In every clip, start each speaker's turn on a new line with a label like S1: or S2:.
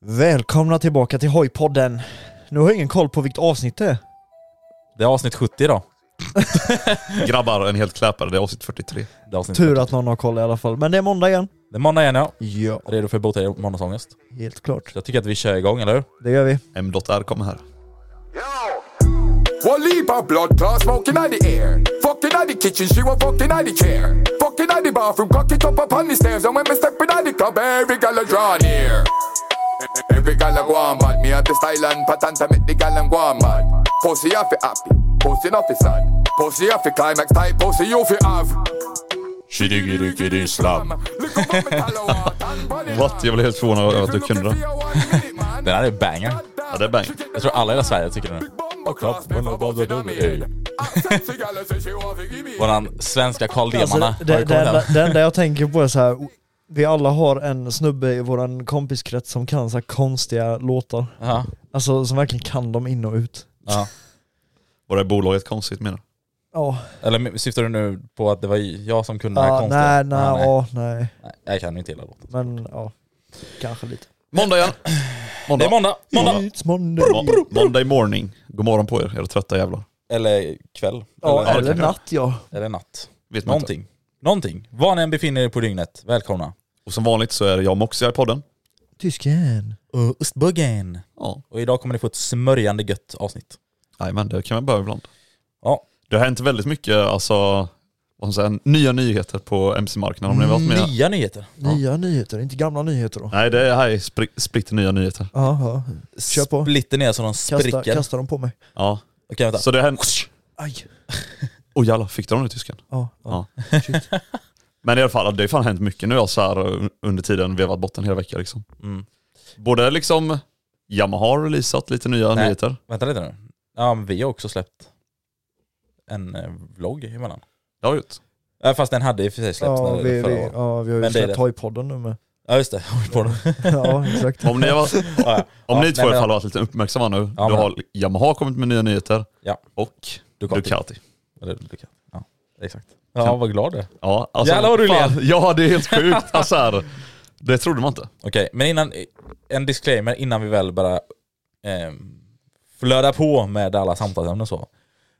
S1: Välkomna tillbaka till Hojpodden. Nu har jag ingen koll på vilket avsnitt det är.
S2: Mm. Det är avsnitt 70 då.
S3: Grabbar, en helt kläpare. Det är avsnitt 43.
S2: Det är avsnitt
S1: Tur
S2: 40.
S1: att någon har koll i alla fall. Men det är måndag igen.
S2: Det är måndag igen ja.
S1: Ja.
S2: Redo för att bota er måndagsångest.
S1: Helt klart.
S2: Så jag tycker att vi kör igång, eller hur?
S1: Det gör vi.
S3: M.R kommer här.
S4: One leap of blood clot smoking out the air. Fucking out the kitchen, she was fucking out the chair. Fucking out the bathroom, cock it up upon the stairs. And when me stepping out the club, every gal a draw near. Every gal a go on mad. Me have the style and pattern to make the gal and go on mad. Pussy off it happy, pussy off it sad. Pussy off it climax type, pussy you fi have.
S3: Shitty giddy giddy slab.
S4: Look up at me, tell her what I'm running
S3: What? Jag blev helt förvånad över att du kunde den.
S4: den.
S2: Den här är banger.
S3: Ja, det är bang.
S2: Jag tror alla i hela Sverige tycker den.
S4: Och
S2: kropp, men vad var det då? Ey. Våran svenska Carl
S1: Alltså,
S2: Demanna har
S1: det,
S2: ju
S1: det,
S2: kommit hem.
S1: enda, det enda jag tänker på är så här. vi alla har en snubbe i våran kompiskrets som kan så här konstiga låtar.
S2: Ja.
S1: Alltså som verkligen kan dem in och ut.
S2: Ja.
S3: Var det bolaget konstigt menar du?
S1: Ja,
S2: Eller men syftar du nu på att det var jag som kunde den här
S1: ja
S2: konsten?
S1: nej, nej,
S2: Ja,
S1: ja, nej.
S2: nej. Jag kan ju inte hela låten.
S1: Men ja, kanske lite.
S3: Måndag igen.
S2: Det är måndag! Måndag!
S1: It's Monday.
S3: Må- Monday morning. God morgon på er, era trötta jävlar.
S2: Eller kväll.
S1: Ja,
S2: eller,
S1: eller natt ja.
S2: eller natt.
S3: Vet man inte.
S2: Någonting. Någonting. Var ni än befinner er på dygnet, välkomna.
S3: Och som vanligt så är det jag Moxie här i podden.
S1: Tysken.
S2: Uh, Ostbuggen.
S3: Ja.
S2: Och idag kommer ni få ett smörjande gött avsnitt.
S3: Jajamän, det kan man behöva ibland.
S2: Ja.
S3: Det har hänt väldigt mycket, alltså, vad ska man säga, nya nyheter på MC-marknaden. Om ni varit med.
S2: Nya nyheter.
S1: Nya nyheter, inte gamla nyheter då.
S3: Nej, det här är spri- splitter nya nyheter.
S1: Ja, ja. Kör på.
S2: Splitter ner så de spricker.
S1: Kasta, kasta dem på mig.
S3: Ja.
S2: Okej vänta.
S3: Så det har hänt...
S1: Aj.
S3: Oj jävlar, fick du den i tysken?
S1: Ja, ja. Shit.
S3: Men i alla fall, det har fan hänt mycket nu så här un- under tiden vi har varit botten hela veckan liksom.
S2: Mm.
S3: Både liksom Yamaha har releasat lite nya
S2: Nej.
S3: nyheter.
S2: Vänta lite nu. Ja, men vi har också släppt en eh, vlogg emellan.
S3: Det har vi gjort.
S2: Äh, fast den hade i och för sig släppts
S1: Ja,
S2: när
S1: vi,
S2: förra
S1: vi,
S2: året.
S1: ja, vi har ju
S2: Men det är
S1: släppt
S2: det.
S1: Hojpodden nu med.
S2: Ja just det, har vi på den.
S1: Ja, exakt.
S3: Om ni, har,
S2: Ja, ja.
S3: om
S2: Ja,
S3: ni två
S2: nej,
S3: i alla
S2: men-
S3: fall har varit lite uppmärksamma nu,
S2: Ja,
S3: då
S2: men-
S3: har Yamaha kommit med nya nyheter
S2: Ja.
S3: och
S2: Ducati.
S3: Ducati.
S2: Eller Ducati. Ja, exakt. Ja, vad glad du är.
S3: Ja, alltså,
S2: Jävlar vad du
S3: fan,
S2: ler.
S3: Ja, det är helt sjukt. Alltså, här, det trodde man inte.
S2: Okej, men innan, en disclaimer innan vi väl bara eh, flödar på med alla samtalsämnen och så.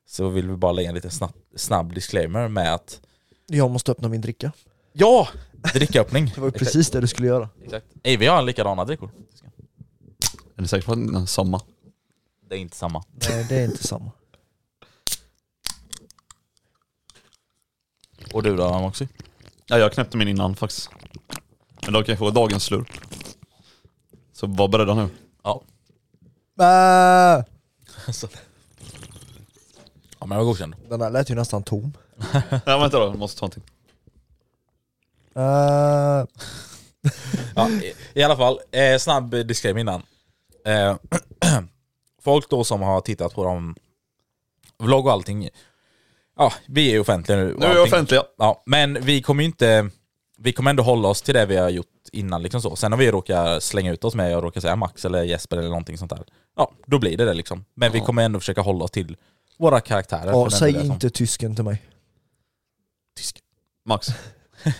S2: Så vill vi bara lägga en liten snabb, snabb disclaimer med att
S1: Jag måste öppna min dricka.
S2: Ja! Dricköppning.
S1: Det var ju
S2: Exakt,
S1: precis det du skulle göra.
S2: Exakt. Ey, vi har likadana drickor.
S3: Är ni säkra på att det är samma?
S2: Det är inte samma.
S1: Nej, det är inte samma.
S2: Och du då Moxie?
S3: Ja, jag knäppte min innan faktiskt. Men då kan jag få dagens slurp. Så var beredda nu.
S2: Ja.
S1: Äh,
S2: Ja men jag var godkänd.
S1: den här lät ju nästan tom.
S3: Nej, vänta då. Jag måste ta någonting.
S1: Äh,
S2: Ja, i, I alla fall, eh, snabb disclaimer innan. Eh, folk då som har tittat på dem, vlogg och allting. Ja, vi är offentliga nu. och
S3: Nu är vi
S2: allting.
S3: offentliga.
S2: Ja, men vi kommer ju inte, vi kommer ändå hålla oss till det vi har gjort innan liksom så. Sen om vi råkar slänga ut oss med, jag råkar säga Max eller Jesper eller någonting sånt där. Ja, då blir det det liksom. Men vi kommer ändå försöka hålla oss till våra karaktärer. för
S1: Ja,
S2: den
S1: säg
S2: delen som-
S1: inte tysken till mig.
S3: Max.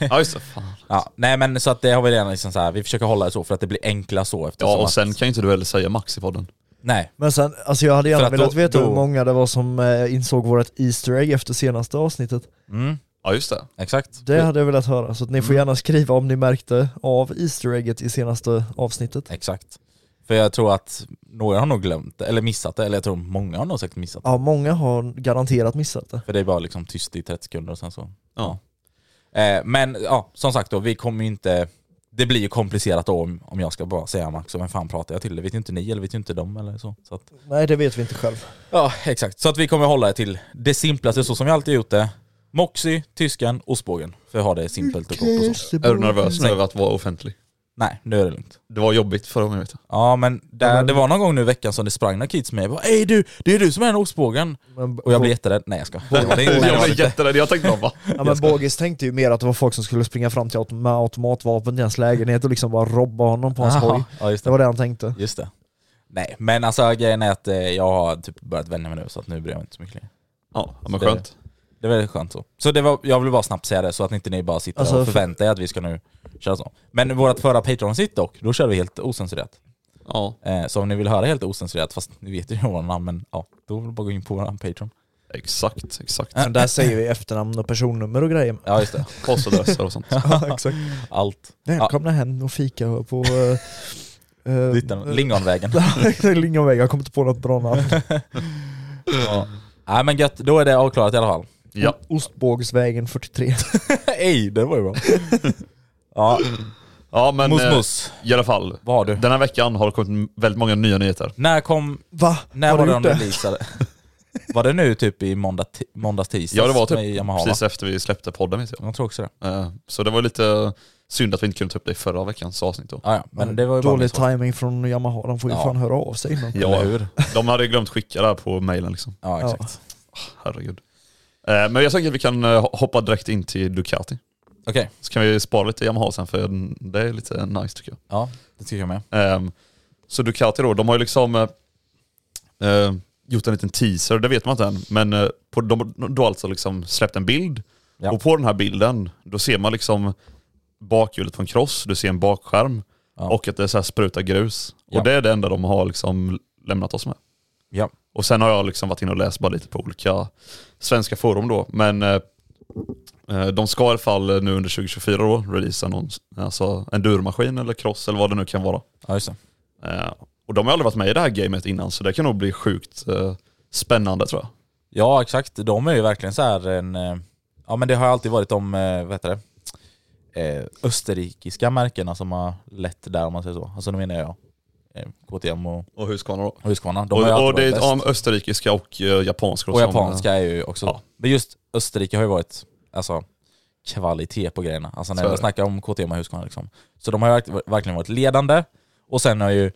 S3: Ja just det, fan.
S2: Ja, nej men så att det har vi redan liksom så här, vi försöker hålla det så för att det blir enkla så eftersom
S3: Ja och sen
S2: att,
S3: kan ju inte du heller säga Max i podden.
S2: Nej,
S1: Men sen, alltså jag hade
S2: För
S1: gärna
S2: att då-
S1: velat veta
S2: då-
S1: hur många det var som eh, insåg vårt Easter egg efter senaste avsnittet.
S2: mm,
S3: Ja just det.
S2: exakt.
S1: Det hade jag velat höra, så att ni
S2: Mm.
S1: får gärna skriva om ni märkte av Easter egget i senaste avsnittet.
S2: Exakt. För jag tror att några har nog glömt det, eller missat det, eller jag tror många har nog säkert missat det.
S1: Ja, många har garanterat missat det.
S2: För det är bara liksom tyst i 30 sekunder och sen så.
S3: Ja.
S2: Eh, men ja, som sagt då, vi kommer ju inte... Det blir ju komplicerat då om, om jag ska bara säga Max och vem fan pratar jag till? Det vet ju inte ni eller vet ju inte de eller så. så att,
S1: Nej, det vet vi inte själv.
S2: ja, exakt. Så att vi kommer hålla det till det simplaste, så som vi alltid gjort det. Moxie, tysken, ostbågen. För att ha det simpelt Typ och gott och så.
S3: Är du nervös nu över att vara offentlig?
S2: Nej, nu är det lugnt.
S3: Det var jobbigt förra gången vet jag.
S2: Ja men där, det var någon gång nu i veckan som det sprang några kids med Jag bara Ej du, det är du som är den ostbågen!
S1: Men,
S2: Och jag blev jätterädd, nej jag ska. Det var det inte.
S3: Jag var jätterädd, jag tänkte bara va?
S1: ja, men Bogis tänkte ju mer att det var folk som skulle springa fram till autom med automatvapen till hans lägenhet och liksom bara robba honom på hans
S2: Aha,
S1: hoj.
S2: Ja just
S1: Det
S2: det.
S1: var det han tänkte.
S2: Just det. Nej men alltså grejen är att eh, jag har typ börjat vänja mig nu så att nu bryr jag mig inte så mycket längre.
S3: Ja men skönt.
S2: Det är väldigt skönt så. Så det var, jag vill bara snabbt säga det så att inte ni bara sitter
S1: Alltså,
S2: och förväntar er att vi ska nu köra så. Men vårt förra Patreon-sitt dock, då körde vi helt ocensurerat.
S3: Ja.
S2: Eh, så om ni vill höra helt ocensurerat, fast ni vet ju våra namn men ja, då vill bara gå in på våran Patreon.
S3: Exakt, exakt.
S1: Men där säger vi efternamn och personnummer och grejer.
S2: Ja just det,
S3: Postadresser och sånt.
S1: Ja, exakt.
S2: allt.
S1: Välkomna hem och fika på... Uh,
S2: Dittan- Lingonvägen.
S1: Lingonväg, jag kommer eh, inte på något bra namn.
S2: Ja. Nej men gött, då är det avklarat i alla fall.
S3: Ja.
S1: Ostbågsvägen 43.
S2: Ej, det var ju bra. ja,
S3: Ja men
S2: mus
S3: eh,
S2: mus.
S3: i alla fall.
S2: Vad har du?
S3: Den här veckan har det kommit väldigt många nya nyheter.
S2: När kom,
S1: Va?
S2: när
S1: Har
S2: var
S1: du
S2: det
S1: gjort
S2: de
S1: det?
S2: releasade? Var det nu typ i måndag, ti- måndags tisdags?
S3: Ja det var
S2: med
S3: typ
S2: Yamaha, va?
S3: precis efter vi släppte podden vet jag.
S2: Jag tror också det.
S3: Eh, Så det var lite synd att vi inte kunde ta upp det i förra veckans avsnitt då.
S2: Ja, ja, men det var ju bara
S1: Dålig
S2: mitt svar.
S1: timing från Yamaha, de får ju
S2: Ja.
S1: fan höra av sig innan.
S3: Ja,
S2: Eller hur?
S3: de hade ju glömt skicka det här på mailen liksom.
S2: Ja, exakt.
S3: Herregud. Eh, Men jag tänker att vi kan eh, hoppa direkt in till Ducati.
S2: Okej,
S3: Så kan vi spara lite Yamaha sen för det är lite nice tycker jag.
S2: ja, det tycker jag med.
S3: Ehm, så Ducati då, de har ju liksom eh, eh, gjort en liten teaser, det vet man inte än. Men eh, på, de har då alltså liksom släppt en bild.
S2: Ja.
S3: Och på den här bilden, då ser man liksom bakhjulet på en cross, du ser en bakskärm
S2: Ja.
S3: och att det så här sprutar grus.
S2: Ja.
S3: Och det är det enda de har liksom lämnat oss med.
S2: Ja.
S3: Och sen har jag liksom varit inne och läst bara lite på olika svenska forum då. Men eh, eh, de ska i alla fall nu under 2024 då releasa någon, alltså en durmaskin eller cross eller vad det nu kan vara.
S2: ja, just det.
S3: Eh, och de har aldrig varit med i det här gamet innan så det kan nog bli sjukt eh, spännande tror jag.
S2: Ja, exakt. De är ju verkligen så här en... eh, Ja, men det har alltid varit de, eh, vad heter det, eh, österrikiska märkena som har lett där om man säger så. Alltså då menar jag eh, KTM och
S3: Och Husqvarna då.
S2: Husqvarna. De har ju
S3: Och,
S2: alltid
S3: och det
S2: varit
S3: är
S2: bäst.
S3: om österrikiska och eh, japanska.
S2: Och
S3: som, eh,
S2: japanska är ju också...
S3: Ja.
S2: Men just Österrike har ju varit alltså, kvalitet på grejerna. Alltså när
S3: Så är
S2: jag
S3: det.
S2: snackar om KTM och Husqvarna liksom. Så de har ju verk- verkligen varit ledande. Och sen har ju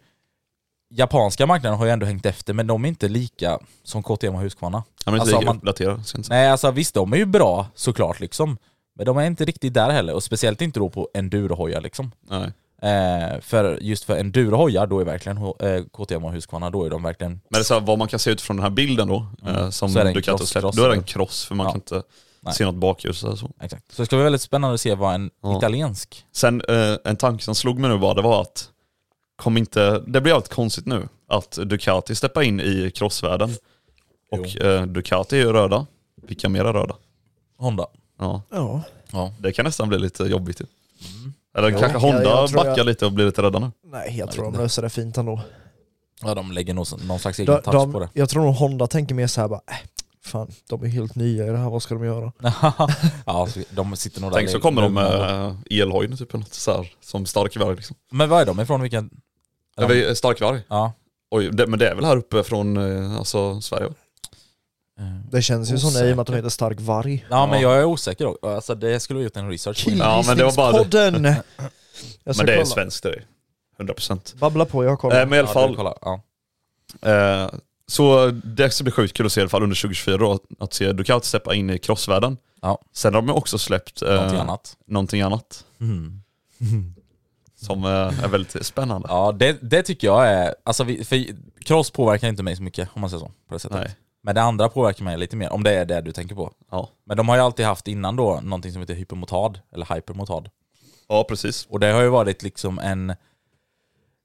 S2: japanska marknaden har ju ändå hängt efter, men de är inte lika som KTM och Husqvarna.
S3: Ja, men
S2: Alltså,
S3: alltså,
S2: om man-
S3: uppdaterade. ska jag inte säga.
S2: Nej, alltså visst, de är ju bra såklart liksom. Men de är inte riktigt där heller, och speciellt inte då på endurohojar liksom.
S3: Nej.
S2: Eh, för just för endurohojar, då är verkligen eh, KTM och Husqvarna, då är de verkligen...
S3: Men det är så här, vad man kan se utifrån den här bilden då, eh, som
S2: Mm. Så är det en
S3: du kan
S2: cross-
S3: släppa,
S2: cross,
S3: då är det en
S2: eller?
S3: cross för man
S2: Ja.
S3: kan inte
S2: Nej.
S3: se något bakljus eller så.
S2: Exakt. Så det ska bli väldigt spännande att se vad en
S3: Ja.
S2: italiensk...
S3: Sen eh, en tanke som slog mig nu bara, det var att kom inte, det blir allt konstigt nu att Ducati steppar in i crossvärlden. Och eh, Ducati är ju röda. Vilka mer är röda?
S2: Honda.
S3: Ja.
S1: Ja.
S3: Det kan nästan bli lite jobbigt. ju. Eller kanske
S1: Jag-
S3: Honda
S1: jag tror
S3: backar
S1: jag-
S3: lite och blir lite rädda nu.
S1: Nej, jag tror de löser det fint ändå.
S2: Ja, de lägger nog så- någon slags egen
S1: De,
S2: touch på
S1: de,
S2: det.
S1: jag tror nog Honda tänker mer såhär bara, äh, fan, de är helt nya i det här, vad ska de göra?
S2: ja, så de sitter nog där.
S3: Tänk så
S2: i-
S3: kommer de eh,
S2: lugna.
S3: med elhojden typ, eller något så här, som starkvarg. Liksom.
S2: Men var är de ifrån? Vilken?
S3: Ja. Eller starkvarg?
S2: Ja.
S3: Oj, det, men det är väl här uppe från eh, alltså, Sverige? va?
S2: Eh,
S1: Det känns ju som det i och med att de
S2: Osäker.
S1: heter Stark Varg.
S2: Ja, men jag är osäker också. Alltså, det skulle jag gjort en research på.
S3: Ja, men det var bara-
S1: Killgissningspodden! Jag ska
S3: Men det är
S1: kolla.
S3: svenskt det är 100%.
S1: Babbla på, jag
S3: Eh,
S1: kollar.
S3: men i alla
S2: Ja, du
S3: fall,
S2: kollar. Ja.
S3: eh, Så det ska bli sjukt kul att se i alla fall under 2024 då, att se Ducati steppa in i crossvärlden.
S2: Ja.
S3: Sen har de ju också släppt eh,
S2: Någonting annat. Mm.
S3: någonting annat som eh, är väldigt spännande.
S2: Ja, det, det tycker jag är... Alltså vi, för cross påverkar inte mig så mycket om man säger så. På det sättet.
S3: Nej.
S2: Men det andra påverkar mig lite mer, om det är det du tänker på.
S3: Ja.
S2: Men de har ju alltid haft innan då någonting som heter hypermotard, eller hypermotard.
S3: ja, precis.
S2: Och det har ju varit liksom en...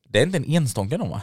S2: Det är inte en enstångare de va?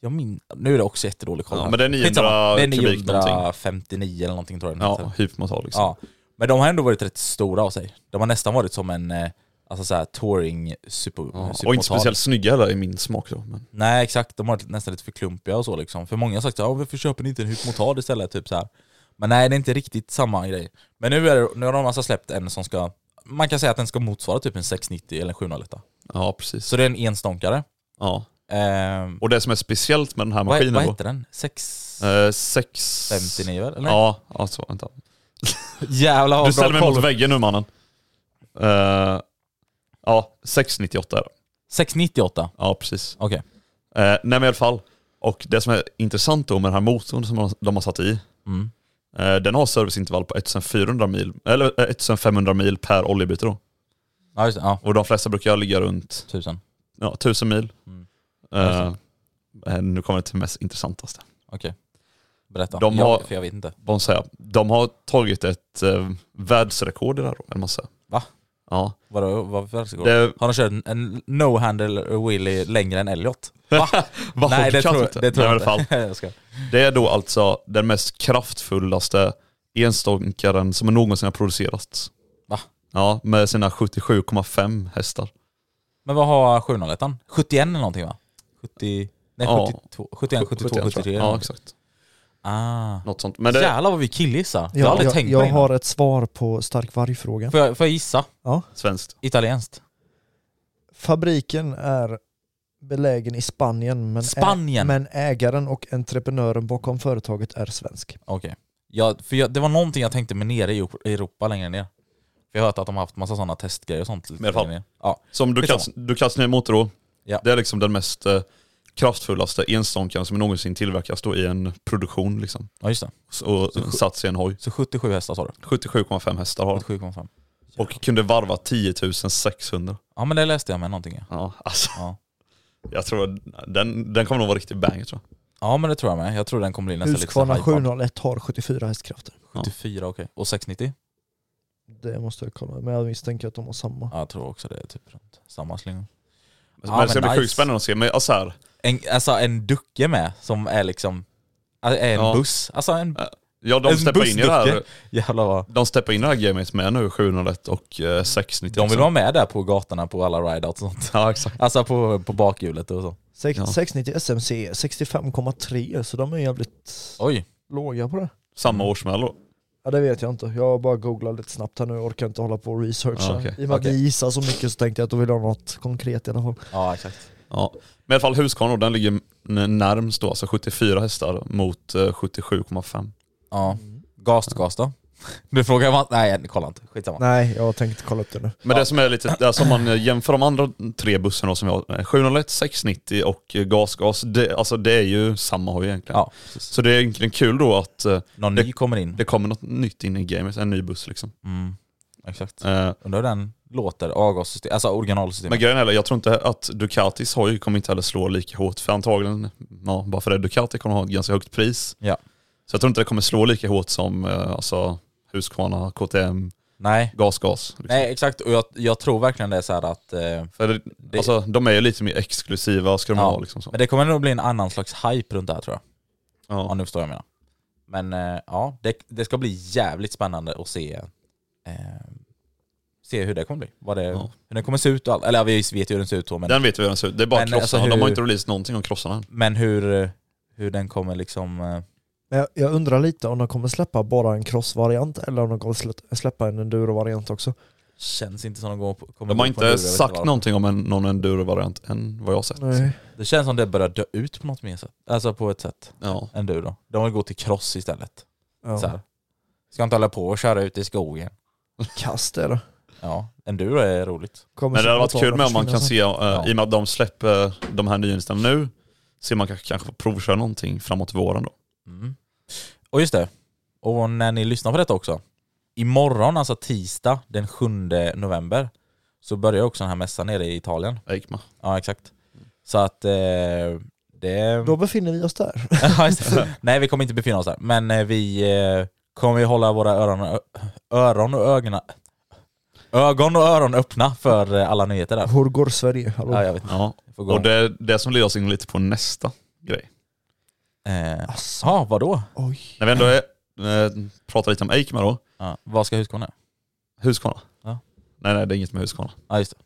S2: Jag min... Nu är det också jättedålig koll.
S3: Ja,
S2: här.
S3: men det är 900
S2: Skitsamma. Det är
S3: kubik någonting.
S2: 959 eller någonting tror jag den heter.
S3: Ja, hypermotor liksom.
S2: Ja. Men de har ändå varit rätt stora av sig. De har nästan varit som en eh, alltså så här, touring super,
S3: Ja,
S2: supermotard.
S3: Och inte speciellt snygga heller i min smak då. Men,
S2: Nej exakt, de har varit nästan lite för klumpiga och så liksom. För många har sagt att varför köper ni inte en hypmotard istället? Typ så här. Men nej, det är inte riktigt samma grej. Men nu, är det, nu har de alltså släppt en som ska, man kan säga att den ska motsvara typ en 690 eller en 701.
S3: ja, precis.
S2: Så det är en enstånkare.
S3: Ja.
S2: Ehm,
S3: Och det som är speciellt med den här
S2: vad,
S3: maskinen
S2: vad
S3: då,
S2: heter den? 6...
S3: Eh, 659
S2: 59 eller?
S3: Ja, alltså vänta.
S2: Jävlar vad
S3: Du ställer mig
S2: bra
S3: mot
S2: koll.
S3: väggen nu mannen. Eh, ja, 698 är det.
S2: 698,
S3: Ja, precis.
S2: okej.
S3: Eh, nej men i alla fall. Och det som är intressant då med den här motorn som de- de har satt i.
S2: Mm.
S3: Eh, den har serviceintervall på 1400 mil, eller eh, 1500 mil per oljebyte då.
S2: Ja just det, ja.
S3: Och de flesta brukar ligga runt
S2: Tusen.
S3: ja, 1000 mil.
S2: Mm.
S3: Eh, eh, nu kommer det till det mest intressantaste.
S2: Okej. Berätta.
S3: De
S2: jag,
S3: har-
S2: För jag vet inte.
S3: Vad säger jag? De har tagit ett eh, världsrekord i det här då, eller vad man säger.
S2: Va?
S3: Ja.
S2: Vadå, vad för det...
S3: Det,
S2: Har de kört en, en no-handle wheelie längre än Elliot?
S3: vad
S2: Nej det
S3: har Ducati
S2: tror,
S3: inte?
S2: det tror
S3: Nej,
S2: jag
S3: i alla fall.
S2: inte. jag skojar.
S3: Det är då alltså den mest kraftfullaste enstånkaren som någonsin har producerats.
S2: Va?
S3: Ja, med sina 77,5 hästar.
S2: Men vad har 701 71 eller någonting va? 70, nej
S3: Ja.
S2: 72, 71, 72,
S3: 71,
S2: 73
S3: Ja, exakt.
S2: Ah.
S3: Något sånt. Men det,
S2: Jävlar vad vi killgissar. Jag har
S1: Jag,
S2: aldrig
S1: jag,
S2: tänkt på det
S1: jag
S2: innan.
S1: har ett svar på stark vargfrågan.
S2: får, jag, får jag gissa?
S3: svenskt.
S2: Italienskt?
S1: Fabriken är belägen i Spanien men, ä-
S2: Spanien?
S1: men ägaren och entreprenören bakom företaget är svensk.
S2: Okej. Jag, för jag, det var någonting jag tänkte med nere i Europa- Europa längre ner. För jag har hört att de har haft massa sådana testgrejer och sånt. lite
S3: Men i alla fall.
S2: längre ner. Ja.
S3: Som Ducats, Ducats nya motor då.
S2: Ja.
S3: Det är liksom den mest eh, kraftfullaste enstånkaren som någonsin tillverkas då i en produktion liksom.
S2: ja, just det.
S3: Och satts i en hoj.
S2: Så 77 hästar sa du?
S3: 77,5 hästar har den.
S2: 77,5.
S3: Och kunde varva 10 600.
S2: Ja men det läste jag med någonting ja.
S3: Ja, alltså.
S2: Ja.
S3: Jag tror den, den kommer nog vara riktigt banger tror jag. Alltså,
S2: Ja men det tror jag med. Jag tror den kommer bli nästan alltså lite så
S1: Husqvarna
S2: hypad.
S1: 701 har 74 hästkrafter.
S2: 74 okej. Och 690?
S1: Det måste jag kolla, men jag misstänker att de har samma.
S2: Ja, jag tror också det är typ runt samma slinga.
S3: Men
S2: Ja,
S3: det ska
S2: men
S3: bli
S2: nice.
S3: sjukt spännande att se. Men alltså här,
S2: En, alltså en ducke med som är liksom, alltså, är en
S3: Ja.
S2: buss. Alltså en,
S3: ja, de
S2: en
S3: steppar in i det här.
S2: bussducke. Jävlar vad.
S3: De steppar in i det här gamet med nu, 701 och eh, 690.
S2: De vill vara med där på gatorna på alla rideouts och sånt.
S3: Ja exakt.
S2: Alltså på, på bakhjulet och så.
S1: Sex-
S3: Ja.
S1: 690 SMC 65,3 så de är jävligt
S2: Oj.
S1: låga på det.
S3: Samma
S2: Mm.
S3: årsmodell då.
S1: Ja det vet jag inte, jag bara googlar lite snabbt här nu, jag orkar inte hålla på och researcha.
S3: Ja, okej.
S1: I och med att
S2: Ah, Okej.
S1: vi gissar så mycket så tänkte jag att då vill jag ha något konkret i alla fall.
S2: Ja exakt.
S3: Ja. Men i alla fall Husqvarna då, den ligger n- närmst då, alltså 74 hästar mot eh, 77,5.
S2: Ja.
S3: Mm.
S2: Gastgas då? Du frågar man, nej kolla inte, skitsamma.
S1: Nej, jag tänkte kolla upp det nu.
S3: Men det som är lite, alltså om man eh, jämför de andra tre bussarna som vi har, eh, 701, 690 och eh, gasgas, det, alltså det är ju samma hoj egentligen.
S2: Ja, precis.
S3: Så det är egentligen kul då att eh,
S2: Någon
S3: Det-
S2: ny kommer in.
S3: det kommer något nytt in i gamet, en ny buss liksom.
S2: Mm. Exakt.
S3: Eh,
S2: Undrar hur den låter, avgassystem, alltså originalsystemet.
S3: Men grejen är, jag tror inte att Ducatis hoj kommer inte heller slå lika hårt. För antagligen, ja, bara för det, Ducati kommer ha ett ganska högt pris.
S2: Ja.
S3: Så jag tror inte det kommer slå lika hårt som eh, alltså, Husqvarna, KTM,
S2: Nej.
S3: gasgas. Liksom.
S2: Nej exakt, och jag, jag tror verkligen det är så här att eh,
S3: För det, alltså, de är ju lite mer exklusiva ska de
S2: Ja.
S3: vara. Liksom, så.
S2: Men det kommer nog bli en annan slags hype runt det här tror jag. Ja,
S3: Ja.
S2: nu förstår jag vad jag menar. Men eh, ja, det, det ska bli jävligt spännande att se, eh, se hur det kommer bli. Vad det,
S3: Ja.
S2: Hur den kommer se ut och allt. Eller ja, vi vet ju hur den ser ut så, men,
S3: Den vet vi hur den ser ut. Det är bara
S2: Men,
S3: krossarna.
S2: alltså,
S3: De har
S2: hur-
S3: inte releasat någonting om krossarna än.
S2: men hur, eh, hur den kommer liksom... Eh,
S1: Men jag, jag undrar lite om de kommer släppa bara en crossvariant eller om de kommer slä- släppa en enduro-variant också.
S2: känns inte som de går på, kommer gå
S3: De har
S2: på en
S3: inte
S2: lur, jag vet
S3: sagt
S2: vad.
S3: någonting om en, någon enduro-variant än vad jag har sett.
S1: Nej.
S2: Det känns som det börjar dö ut på något mer sätt. Alltså på ett sätt.
S3: Ja.
S2: Enduro. De vill gå till cross istället. Så
S1: Ja.
S2: här. Ska inte hålla på och köra ut i skogen.
S1: Kast är det.
S2: Ja, enduro är roligt.
S1: Kommer
S3: Men det hade
S1: som
S3: varit kul med om man kan
S1: försvinna sen.
S3: se, eh, i och med att eh, de släpper de här nyheterna nu, ser man kanske, kanske får provköra någonting framåt våren då.
S2: Mm. Och just det, och när ni lyssnar på detta också. Imorgon, alltså tisdag den 7 november, så börjar också den här mässan nere i Italien.
S3: Eikma.
S2: Ja, exakt. Så att eh, det...
S1: Då befinner vi oss där.
S2: Ja, just det. Nej, vi kommer inte befinna oss där. Men eh, vi eh, kommer ju hålla våra öron och, ö- öron och ögonen... Ögon och öron öppna för eh, alla nyheter där.
S1: Hur går Sverige? Hallå.
S2: Ja, jag vet inte.
S3: Ja.
S2: Får gå
S3: Och
S2: om.
S3: det, det som leder oss in lite på nästa grej.
S2: Eh,
S1: Alltså,
S2: ja, vadå?
S1: oj.
S3: När vi ändå är, eh, pratar lite om Eikma då.
S2: Ja, vad ska Husqvarna
S3: Huskvarna.
S2: Ja.
S3: Nej, nej, det är inget med Huskvarna.
S2: Ja, just det.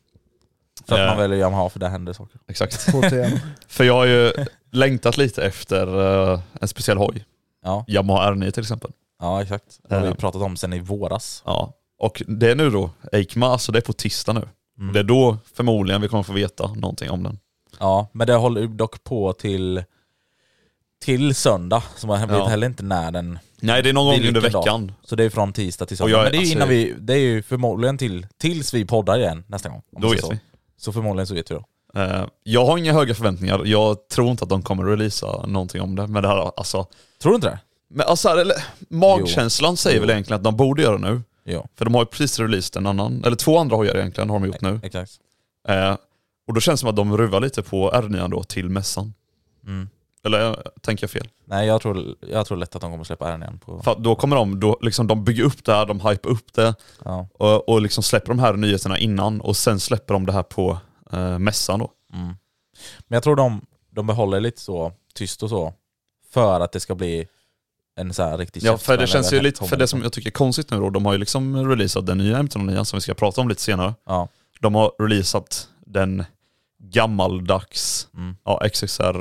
S2: För att
S3: Eh.
S2: man väljer Yamaha för där händer saker.
S3: Exakt.
S1: KTM.
S3: För jag har ju längtat lite efter eh, en speciell hoj.
S2: Ja,
S3: Yamaha R9 till exempel.
S2: ja exakt. Det har vi
S3: Eh.
S2: pratat om sen i våras.
S3: Ja. Och det är nu då, Eikma, alltså det är på tisdag nu.
S2: Mm.
S3: Det är då förmodligen vi kommer få veta någonting om den.
S2: Ja, men det håller ju dock på till, till söndag, så man vet
S3: Ja.
S2: heller inte när den...
S3: Nej, det är någon gång
S2: Vilken
S3: under
S2: dag?
S3: veckan.
S2: Så det är från tisdag till
S3: Och
S2: söndag.
S3: jag-
S2: men det är, ju
S3: alltså-
S2: innan vi, det är ju förmodligen till, tills vi poddar igen nästa gång. om
S3: Då
S2: man
S3: vet
S2: säger
S3: vi.
S2: så. Så förmodligen så vet vi då.
S3: Eh, jag har inga höga förväntningar. Jag tror inte att de kommer releasa någonting om det. Men det här, alltså,
S2: Tror du inte det?
S3: men alltså här, eller, magkänslan säger
S2: Jo.
S3: väl egentligen att de borde göra det nu.
S2: Jo,
S3: För de har ju precis releasat en annan, eller två andra hojar egentligen har de gjort nu.
S2: exakt.
S3: Eh, och då känns det som att de ruvar lite på R9 då till mässan.
S2: Mm.
S3: Eller eh, tänker jag fel?
S2: Nej, jag tror, jag tror lätt att de kommer släppa den igen. På,
S3: För att då kommer de, då, liksom, de bygger upp det här, de hypar upp det
S2: ja.
S3: och, och liksom släpper de här nyheterna innan och sen släpper de det här på eh, mässan då.
S2: Mm. Men jag tror de, de behåller lite så tyst och så för att det ska bli en så här riktig
S3: Ja, för
S2: käftsmäll
S3: det känns ju
S2: över
S3: lite, för det som
S2: Tommy.
S3: jag tycker är konstigt nu då, de har ju liksom releasat den nya MT-09 som vi ska prata om lite senare.
S2: Ja.
S3: De har releasat den gammaldags
S2: Mm.
S3: ja, XXR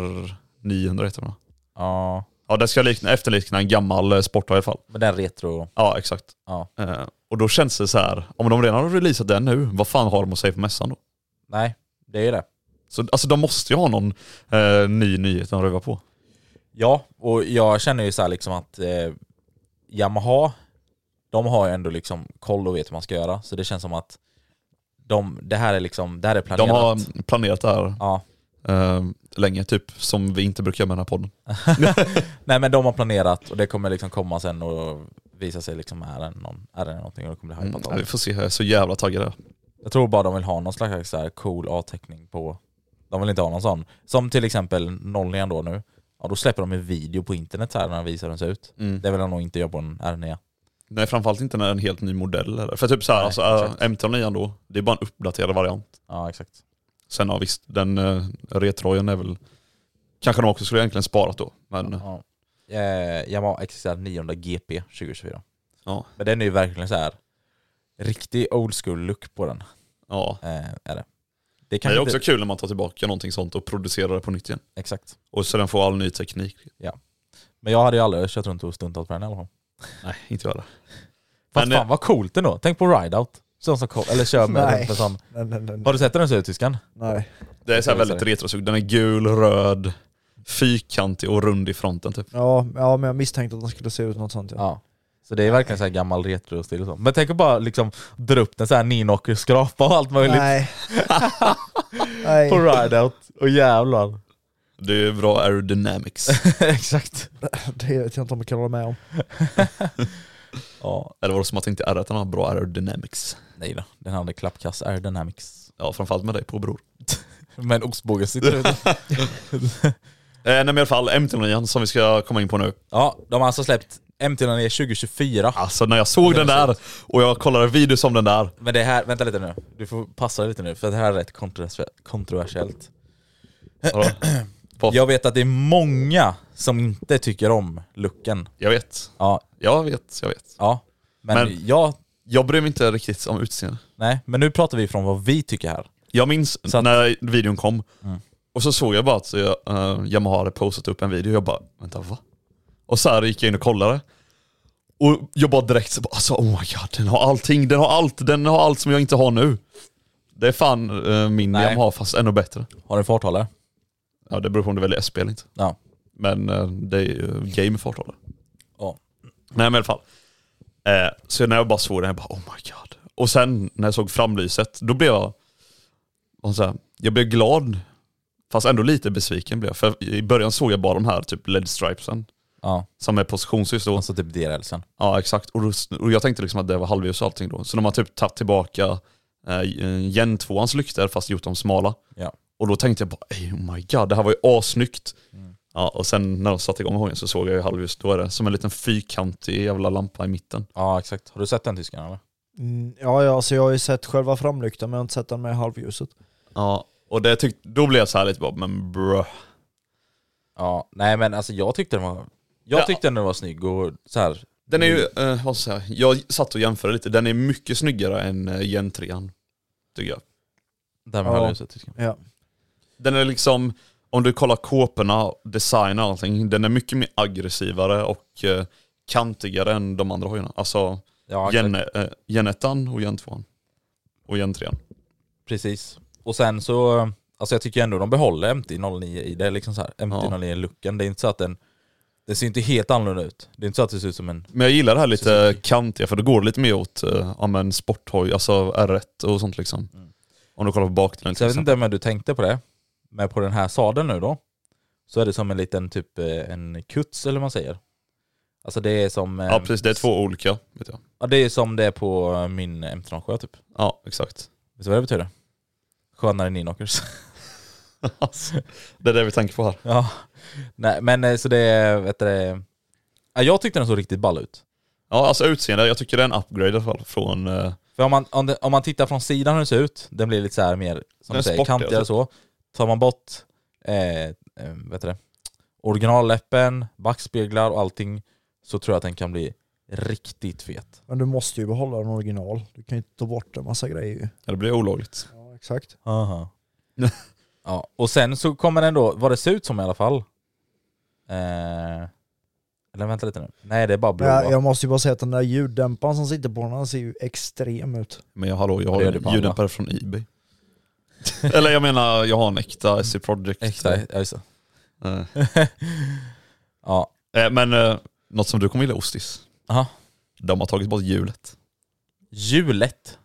S3: 900 heter den va?
S2: ja,
S3: Ja, den ska likna, efterlikna en gammal eh, sporthoj i alla fall.
S2: men den retro...
S3: Ja, exakt.
S2: Ja.
S3: Eh, och då känns det så här, om de redan har releasat den nu, vad fan har de att säga på mässan då?
S2: Nej, det är ju det.
S3: Så, alltså de måste ju ha någon eh, ny nyhet att röva på.
S2: Ja, och jag känner ju så här liksom att eh, Yamaha, de har ju ändå liksom koll och vet hur man ska göra. Så det känns som att de, det här är liksom, det här är planerat.
S3: De har planerat det här
S2: Ja.
S3: eh, länge, typ som vi inte brukar göra med den här podden.
S2: Nej men de har planerat och det kommer liksom komma sen och visa sig liksom, är det, någon, är det någonting och det kommer bli
S3: Mm,
S2: hypat av
S3: ja, vi
S2: det.
S3: får se, jag är så jävla taggad. där.
S2: Jag tror bara de vill ha någon slags så här cool avteckning på, de vill inte ha någon sån. Som till exempel 09 då nu, ja då släpper de en video på internet så här när de visar hur den ser ut.
S3: Mm.
S2: Det vill de nog inte göra på en R9.
S3: Nej, framförallt inte när det är en helt ny modell. Eller? För typ så här,
S2: Nej,
S3: alltså, eh,
S2: exakt.
S3: MT-09 då, det är bara en uppdaterad variant.
S2: Ja exakt.
S3: Sen ja, visst, den eh, retrojen är väl, kanske de också skulle egentligen sparat då. Men
S2: Ja. Eh, Yamaha XXR 900 GP 2024.
S3: Ja.
S2: Men den är ju verkligen så här riktig old school look på den.
S3: ja.
S2: Eh, är det. Det
S3: Men
S2: kan
S3: det är
S2: inte...
S3: också kul när man tar tillbaka någonting sånt och producerar det på nytt igen.
S2: Exakt.
S3: Och så den får all ny teknik.
S2: Men jag hade ju aldrig kört runt och stuntat på den i alla fall.
S3: Nej, inte jag heller.
S2: Fast
S3: Men, eh,
S2: fan vad coolt ändå. Tänk på rideout. Sån som kom, eller kör med
S1: Nej.
S2: runt en sån.
S1: nej, nej, nej,
S2: Har du sett hur den ser ut tyskan?
S1: nej.
S3: Det är så
S2: Jag visar
S3: här väldigt retrosug. Den är gul, röd, fyrkantig och rund i fronten typ.
S1: Ja, ja, men jag misstänkte att de skulle se ut något sånt. Ja.
S2: Ja. Så det är verkligen så här gammal retro-stil och så. Men tänk att bara liksom dra upp den så här ninocker, skrapa och allt möjligt
S1: nej. nej.
S2: på rideout. Och jävlar.
S3: Det är bra aerodynamics.
S2: Exakt.
S1: Det vet jag inte om jag kan hålla med om.
S2: Ja.
S3: Eller var det som att inte R1 har bra aerodynamics?
S2: Nej då, den hade klappkass aerodynamics.
S3: Ja, framförallt med dig på bror.
S2: Men ostbågen sitter ute.
S3: Eh, nej men i alla fall, MT-09 som vi ska komma in på nu.
S2: Ja, de har alltså släppt MT-09 2024.
S3: Alltså när jag såg den där och jag kollade videos om den där.
S2: Men det här, vänta lite nu. Du får passa dig lite nu för det här är rätt kontrovers- kontroversiellt.
S3: Vadå? På-
S2: Jag vet att det är många som inte tycker om looken.
S3: Jag vet,
S2: Ja,
S3: jag vet, jag vet.
S2: ja. Men,
S3: Men-
S2: jag...
S3: Jag bryr mig inte riktigt om utseende.
S2: Nej, men nu pratar vi från vad vi tycker här.
S3: Jag minns
S2: Så att-
S3: när videon kom
S2: Mm.
S3: och så såg jag bara att eh, Yamaha hade postat upp en video och jag bara, vänta va? Och så här gick jag in och kollade. Och jag bara direkt så bara, alltså oh my god, den har allting, den har allt, den har allt som jag inte har nu. Det är fan eh, min
S2: Nej.
S3: Yamaha fast ännu bättre.
S2: Har du farthållare?
S3: Ja det beror på om du väljer SP eller inte.
S2: Ja.
S3: Men eh, det är ju game med farthållare.
S2: Ja.
S3: Nej men i alla fall. Eh, så när jag bara såg den, jag bara oh my god. Och sen när jag såg framlyset, då blev jag, vad ska jag säga, jag blev glad. Fast ändå lite besviken blev jag. För i början såg jag bara de här typ LED-stripesen.
S2: Ja,
S3: som är positionsljus då.
S2: alltså typ DRLsen.
S3: Ja exakt, och, då- och jag tänkte liksom att det var halvljus och allting då. Så de har typ tagit tillbaka eh, gen 2 lyktor fast gjort dem smala.
S2: Ja.
S3: Och då tänkte jag bara, "Ey, oh my god, det här var ju assnyggt. Ja, och sen när de satte igång hojen så såg jag ju halvljus, då är det som en liten fyrkantig jävla lampa i mitten.
S2: Ja exakt. Har du sett den tysken eller?
S1: Mm, ja, ja, alltså jag har ju sett själva framlyktan men jag har inte sett den med halvljuset.
S3: Ja, och det tyck- då blev jag så här lite bara, men bruh.
S2: Ja, nej men alltså jag tyckte den var, jag
S3: Ja.
S2: tyckte den var snygg och så här.
S3: Den är ju, eh, vad ska jag säga, jag satt och jämförde lite, den är mycket snyggare än eh, gen 3 tycker jag.
S2: Där med
S1: Ja.
S2: halvljuset tysken.
S1: Ja.
S3: Den är liksom, om du kollar kåporna, design och allting, den är mycket mer aggressivare och eh, kantigare än de andra hojarna. Alltså
S2: Ja, exakt.
S3: gen, eh, gen 1 och gen 2 och gen 3
S2: Precis. Och sen så, alltså jag tycker ändå de behåller MT-09 i det liksom så här. MT-09-looken. Det är inte så att den, den ser inte helt annorlunda ut. Det är inte så att det ser ut som en,
S3: Men jag gillar det här lite
S2: Suzuki.
S3: kantiga för det går lite mer åt eh, ja, men sporthoj, alltså R1 och sånt liksom. Om du kollar på bakdelen
S2: Mm. så
S3: till
S2: jag vet
S3: exempel.
S2: inte om du tänkte på det, men på den här sadeln nu då, så är det som en liten typ eh, en kuts eller vad man säger. Alltså det är som... eh,
S3: Ja precis, det är två olika. Vet jag.
S2: Ja det är som det är på eh, min M307 typ.
S3: Ja exakt.
S2: Vet du vad det betyder? Skönare ninåkers.
S3: Alltså, det är det vi tänker på här.
S2: ja. Nej men eh, så det är, vet du det, ja, jag tyckte den såg riktigt ball ut.
S3: Ja alltså utseende, jag tycker det är en upgrade i alla fall från eh,
S2: För om man, om, det, om man tittar från sidan hur den ser ut, den blir lite så här mer, som
S3: Den
S2: du
S3: är
S2: säger,
S3: sportig, alltså.
S2: kantigare och så. Tar man bort, eh, eh, vet du det, originalläppen, backspeglar och allting, så tror jag att den kan bli riktigt fet.
S1: Men du måste ju behålla den original. Du kan ju inte ta bort en massa grejer ju.
S3: ja, det blir olagligt.
S1: Ja, exakt.
S2: ja, och sen så kommer den då, vad det ser ut som i alla fall. Eh, eller vänta lite nu. Nej det är bara blå.
S1: Jag,
S2: va?
S1: jag måste ju bara säga att den där ljuddämparen som sitter på den, den ser ju extrem ut.
S3: Men jag, hallå, jag har
S2: Det
S3: ju
S2: gör det på alla.
S3: ljuddämpare från Ebay. Eller jag menar, jag har en
S2: Mm.
S3: äkta SC Project.
S2: Extra, ja just det.
S3: Eh,
S2: Ja,
S3: eh, men eh, något som du kommer gilla Ostis.
S2: Aha.
S3: De har tagit bort hjulet.
S2: hjulet.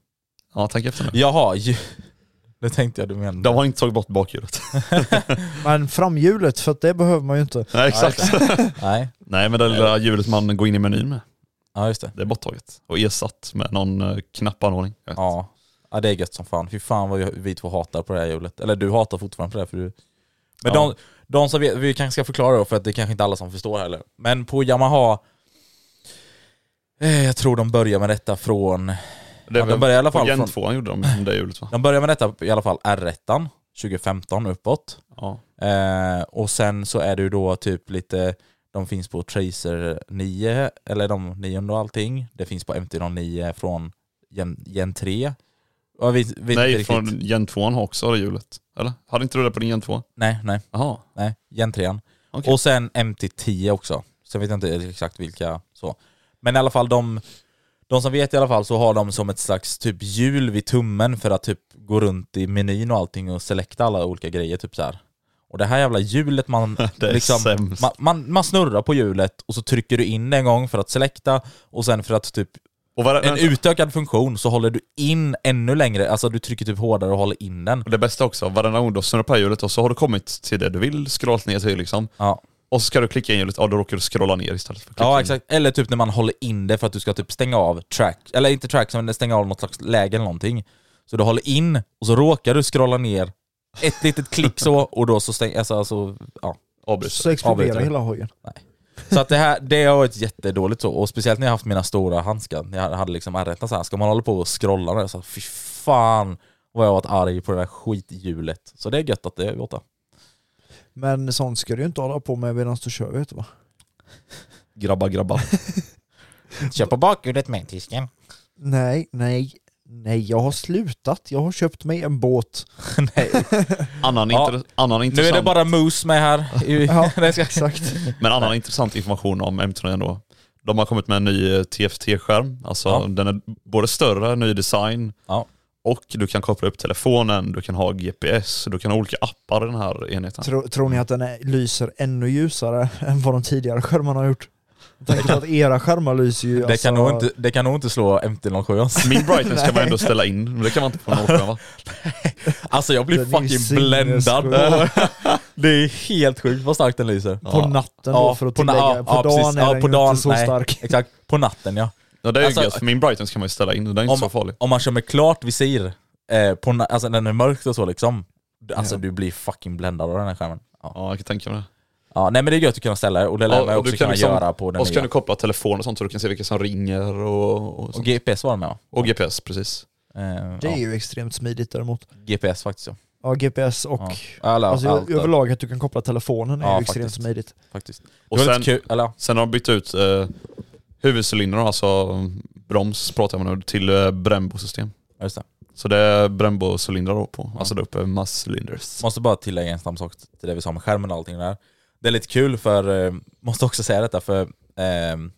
S3: Ja, tänk efter nu.
S2: Jaha, ju... nu tänkte jag du menade.
S3: De har inte tagit bort bakhjulet.
S1: Men framhjulet, för att det behöver man ju inte.
S3: Nej, exakt.
S2: Nej,
S3: Nej, men det lilla hjulet man går in i menyn med,
S2: ja just det.
S3: det är borttaget. Och ersatt med någon eh, knappanordning. Jag vet
S2: Ja. ja, det är gött som fan. Fy fan vad jag- vi två hatar på det här hjulet. Eller du hatar fortfarande på det här för du... Men
S3: Ja.
S2: de, de som vet, vi kanske ska förklara då för att det är kanske inte alla som förstår heller. Men på Yamaha, eh, jag tror de börjar med detta från...
S3: inte. Det
S2: Ja, de börjar i alla fall
S3: på Gen
S2: från-
S3: 2 gjorde de det hjulet va?
S2: De börjar med detta i alla fall R1, 2015 uppåt.
S3: Ja.
S2: Eh, och sen så är det ju då typ lite, de finns på Tracer 9, eller de 9 och allting. Det finns på MT-09 från Gen, Gen 3. Och vi, vi,
S3: Nej,
S2: inte
S3: från
S2: riktigt-
S3: Gen 2 har också det hjulet. Eller? Hade inte du det på din Gen 2?
S2: Nej, nej.
S3: Jaha.
S2: Nej, Gen 3.
S3: Okej.
S2: Och sen MT10 också. Sen vet jag inte exakt vilka så. Men i alla fall de, de som vet i alla fall så har de som ett slags typ hjul vid tummen för att typ gå runt i menyn och allting och selekta alla olika grejer typ så här. Och det här jävla hjulet man
S3: Det är
S2: liksom,
S3: sämst.
S2: man, man, man snurrar på hjulet och så trycker du in det en gång för att selekta och sen för att typ
S3: Och vad är det-
S2: en utökad funktion så håller du in ännu längre, alltså du trycker typ hårdare och håller in den.
S3: Och det bästa också, varenda gång du snurrar på hjulet och så har du kommit till det du vill scrollat ner till liksom.
S2: Ja.
S3: Och så ska du klicka in hjulet, ja då råkar du scrolla ner istället för att klicka
S2: Ja
S3: in.
S2: exakt, eller typ när man håller in det för att du ska typ stänga av track, eller inte track, men stänga av något slags läge eller någonting. Så du håller in och så råkar du scrolla ner ett litet klick så och då så stänger, alltså, alltså ja.
S3: Avbryter.
S1: Så
S2: Avbryter
S1: exploderar
S2: det.
S1: hela hojen.
S2: Så att det här, det har varit jättedåligt så, och speciellt när jag haft mina stora handskar, när jag hade liksom r så här, ska man hålla på och scrolla med det så, fy fan vad jag har varit arg på det där skithjulet. Så det är gött att det är borta.
S1: Men sånt ska du ju inte hålla på med medan du kör vet du va?
S3: Grabbar, grabbar.
S2: Kör på bakhjulet med tysken.
S1: Nej, nej, nej jag har slutat. Jag har köpt mig en båt.
S2: Nej,
S3: Annan,
S2: Ja.
S3: inter- annan
S2: nu
S3: intressant,
S2: är det bara Moose med här.
S1: Ja,
S2: Nej, jag ska-
S1: exakt.
S3: men annan intressant information om M3 ändå. De har kommit med en ny eh, TFT-skärm. Alltså
S2: Ja.
S3: den är både större, ny design
S2: Ja.
S3: och du kan koppla upp telefonen, du kan ha GPS, du kan ha olika appar i den här enheten.
S1: Tro, tror ni att den är, lyser ännu ljusare än vad de tidigare skärmarna har gjort? Jag tänker på att era skärmar lyser ju...
S2: Det, kan nog
S1: alltså-
S2: inte, det kan nog inte slå MT-07 alltså.
S3: Min brightness kan man ändå ställa in, men det kan man inte på någon åkern, va?
S2: Alltså jag blir
S1: Den är ju
S2: fucking bländad.
S1: sinnessjuk.
S2: Det är helt sjukt vad starkt den lyser.
S1: På natten då för att
S2: na-
S1: tillägga. På dagen är den ju inte så stark.
S2: Exakt, på natten ja.
S3: Ja det är ju
S2: Alltså-
S3: gött, för min brightness kan man ju ställa in, den är inte så farlig.
S2: om man kör med klart visir, eh, på na- alltså när det är mörkt och så liksom. Du- Alltså du blir fucking bländad av den här skärmen. Ja.
S3: Ja jag kan tänka mig det.
S2: ja, nej men det är gött att kunna ställa det och det lär man
S3: och
S2: också kunna
S3: liksom-
S2: göra på den
S3: Och så
S2: nya.
S3: kan du koppla telefon och sånt så du kan se vilka som ringer och, och,
S2: Och
S3: sånt.
S2: GPS var det med va?
S3: och GPS precis.
S2: Eh,
S1: Det är
S2: ja.
S1: ju extremt smidigt däremot.
S2: GPS faktiskt ja.
S1: Ja, GPS och...
S2: ja. Alla,
S1: Alltså,
S2: allt, där,
S1: överlag att du kan koppla telefonen är
S2: Ja,
S1: ju extremt
S2: faktiskt.
S1: smidigt.
S2: faktiskt.
S3: Och
S2: det var
S3: sen,
S2: lite kul, eller ja.
S3: sen har de bytt ut eh, huvudcylindern, alltså mm, broms pratar jag om nu, till eh, Brembo-system.
S2: Ja, Just det.
S3: Så det är Brembo-cylindrar då på, alltså där uppe, mass-cylinders.
S2: Måste bara tillägga en snabb sak till det vi sa med skärmen och allting där. Det är lite kul för, eh, måste också säga detta för, ehm,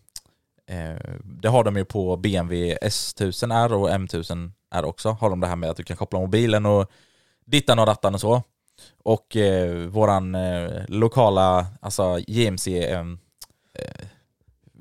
S2: eh, det har de ju på BMW S1000R och M1000R också, har de det här med att du kan koppla mobilen och dittan och dattan och så. Och eh, våran eh, lokala, alltså JMC, eh, eh,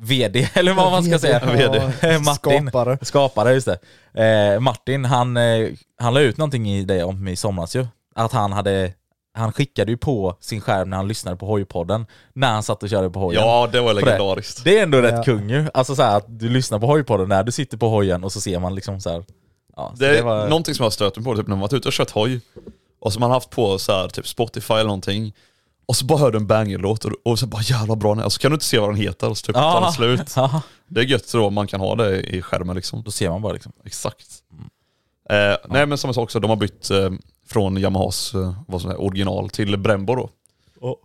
S2: VD eller vad man ska säga. Eh,
S1: Ja,
S2: Martin.
S1: Skapare.
S2: Skapare, just det. Eh, Martin, han, eh, han la ut någonting i det om i somras ju. Att han hade, han skickade ju på sin skärm när han lyssnade på hojpodden, när han satt och körde på hojen.
S3: Ja det var
S2: På det.
S3: legendariskt.
S2: Det är ändå rätt
S1: Ja.
S2: kung ju. Alltså så här, att du lyssnar på hojpodden när du sitter på hojen och så ser man liksom så här. Ja, så
S3: Det är
S2: det var,
S3: någonting som jag har stört mig på typ när man varit ute och kört hoj och som man haft på så här, typ Spotify eller någonting och så bara hör du en banger-låt och, och så bara jävla bra den är. och så kan du inte se vad den heter och så typ
S2: Ja.
S3: tar den slut.
S2: Ja,
S3: Det är gött så då man kan ha det i skärmen liksom.
S2: då ser man bara liksom.
S3: Exakt. Eh, Nej men som jag sa också, de har bytt eh, från Yamahas eh, vad som är, original till Brembo då.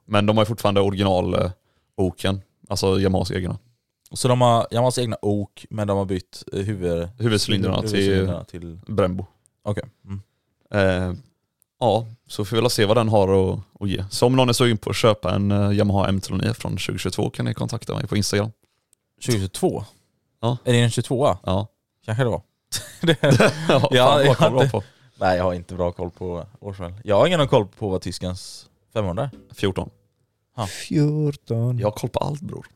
S3: Men de har ju fortfarande original eh, oken, alltså Yamahas egna.
S2: Så de har, jag har alltså egna ok, men de har bytt eh, huvud,
S3: Huvudcylindrarna till
S2: huvudcylindrarna till...
S3: Brembo.
S2: Okej. Mm.
S3: Eh, ja, så får vi väl se vad den har att, att ge. Så om någon är sugen på att köpa en eh, Yamaha M39 från 2022 kan ni kontakta mig på Instagram.
S2: 2022?
S3: Ja.
S2: Är det en 22
S3: Ja,
S2: Kanske det var. det,
S3: ja, fan,
S2: jag
S3: vad kom
S2: hade-
S3: jag på?
S2: nej, jag har inte bra koll på årsmodell. Jag har ingen koll på vad tyskens 500 är.
S3: 14.
S1: 14.
S3: Jag har koll på allt bror.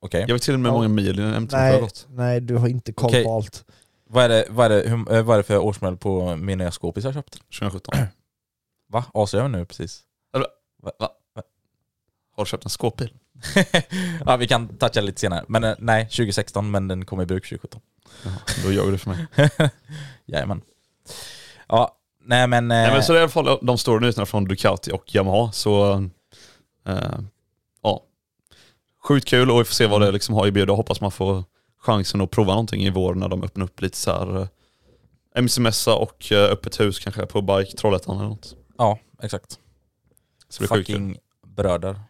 S2: Okej.
S3: Jag vet till och med hur
S1: Ja.
S3: många mil i en M39 E har
S1: Nej,
S3: gått.
S1: nej, du har inte koll
S2: Okej.
S1: på allt.
S2: Vad, är det- vad, är det- hur- eh, vad är det för årsmodell på min nya skåpis jag köpt?
S3: 2017.
S2: Va? Avslöjar nu precis?
S3: Har du köpt en skåpbil?
S2: ja, vi kan toucha lite senare. Men eh, nej, 2016, men den kom i bruk 2017.
S3: Då gör vi det för mig.
S2: Jajamän. Ja, nej men...
S3: Nej, men
S2: eh,
S3: så det är i alla fall de stora nyheterna från Ducati och Yamaha. Så eh, ja, sjukt kul och vi får se vad det liksom har i bjuda. Hoppas man får chansen att prova någonting i vår när de öppnar upp lite så här eh, MC-mässa och eh, öppet hus kanske på Bike Trollhättan eller något.
S2: Ja, exakt.
S3: Så det blir sjukt kul.
S2: Fucking bröder.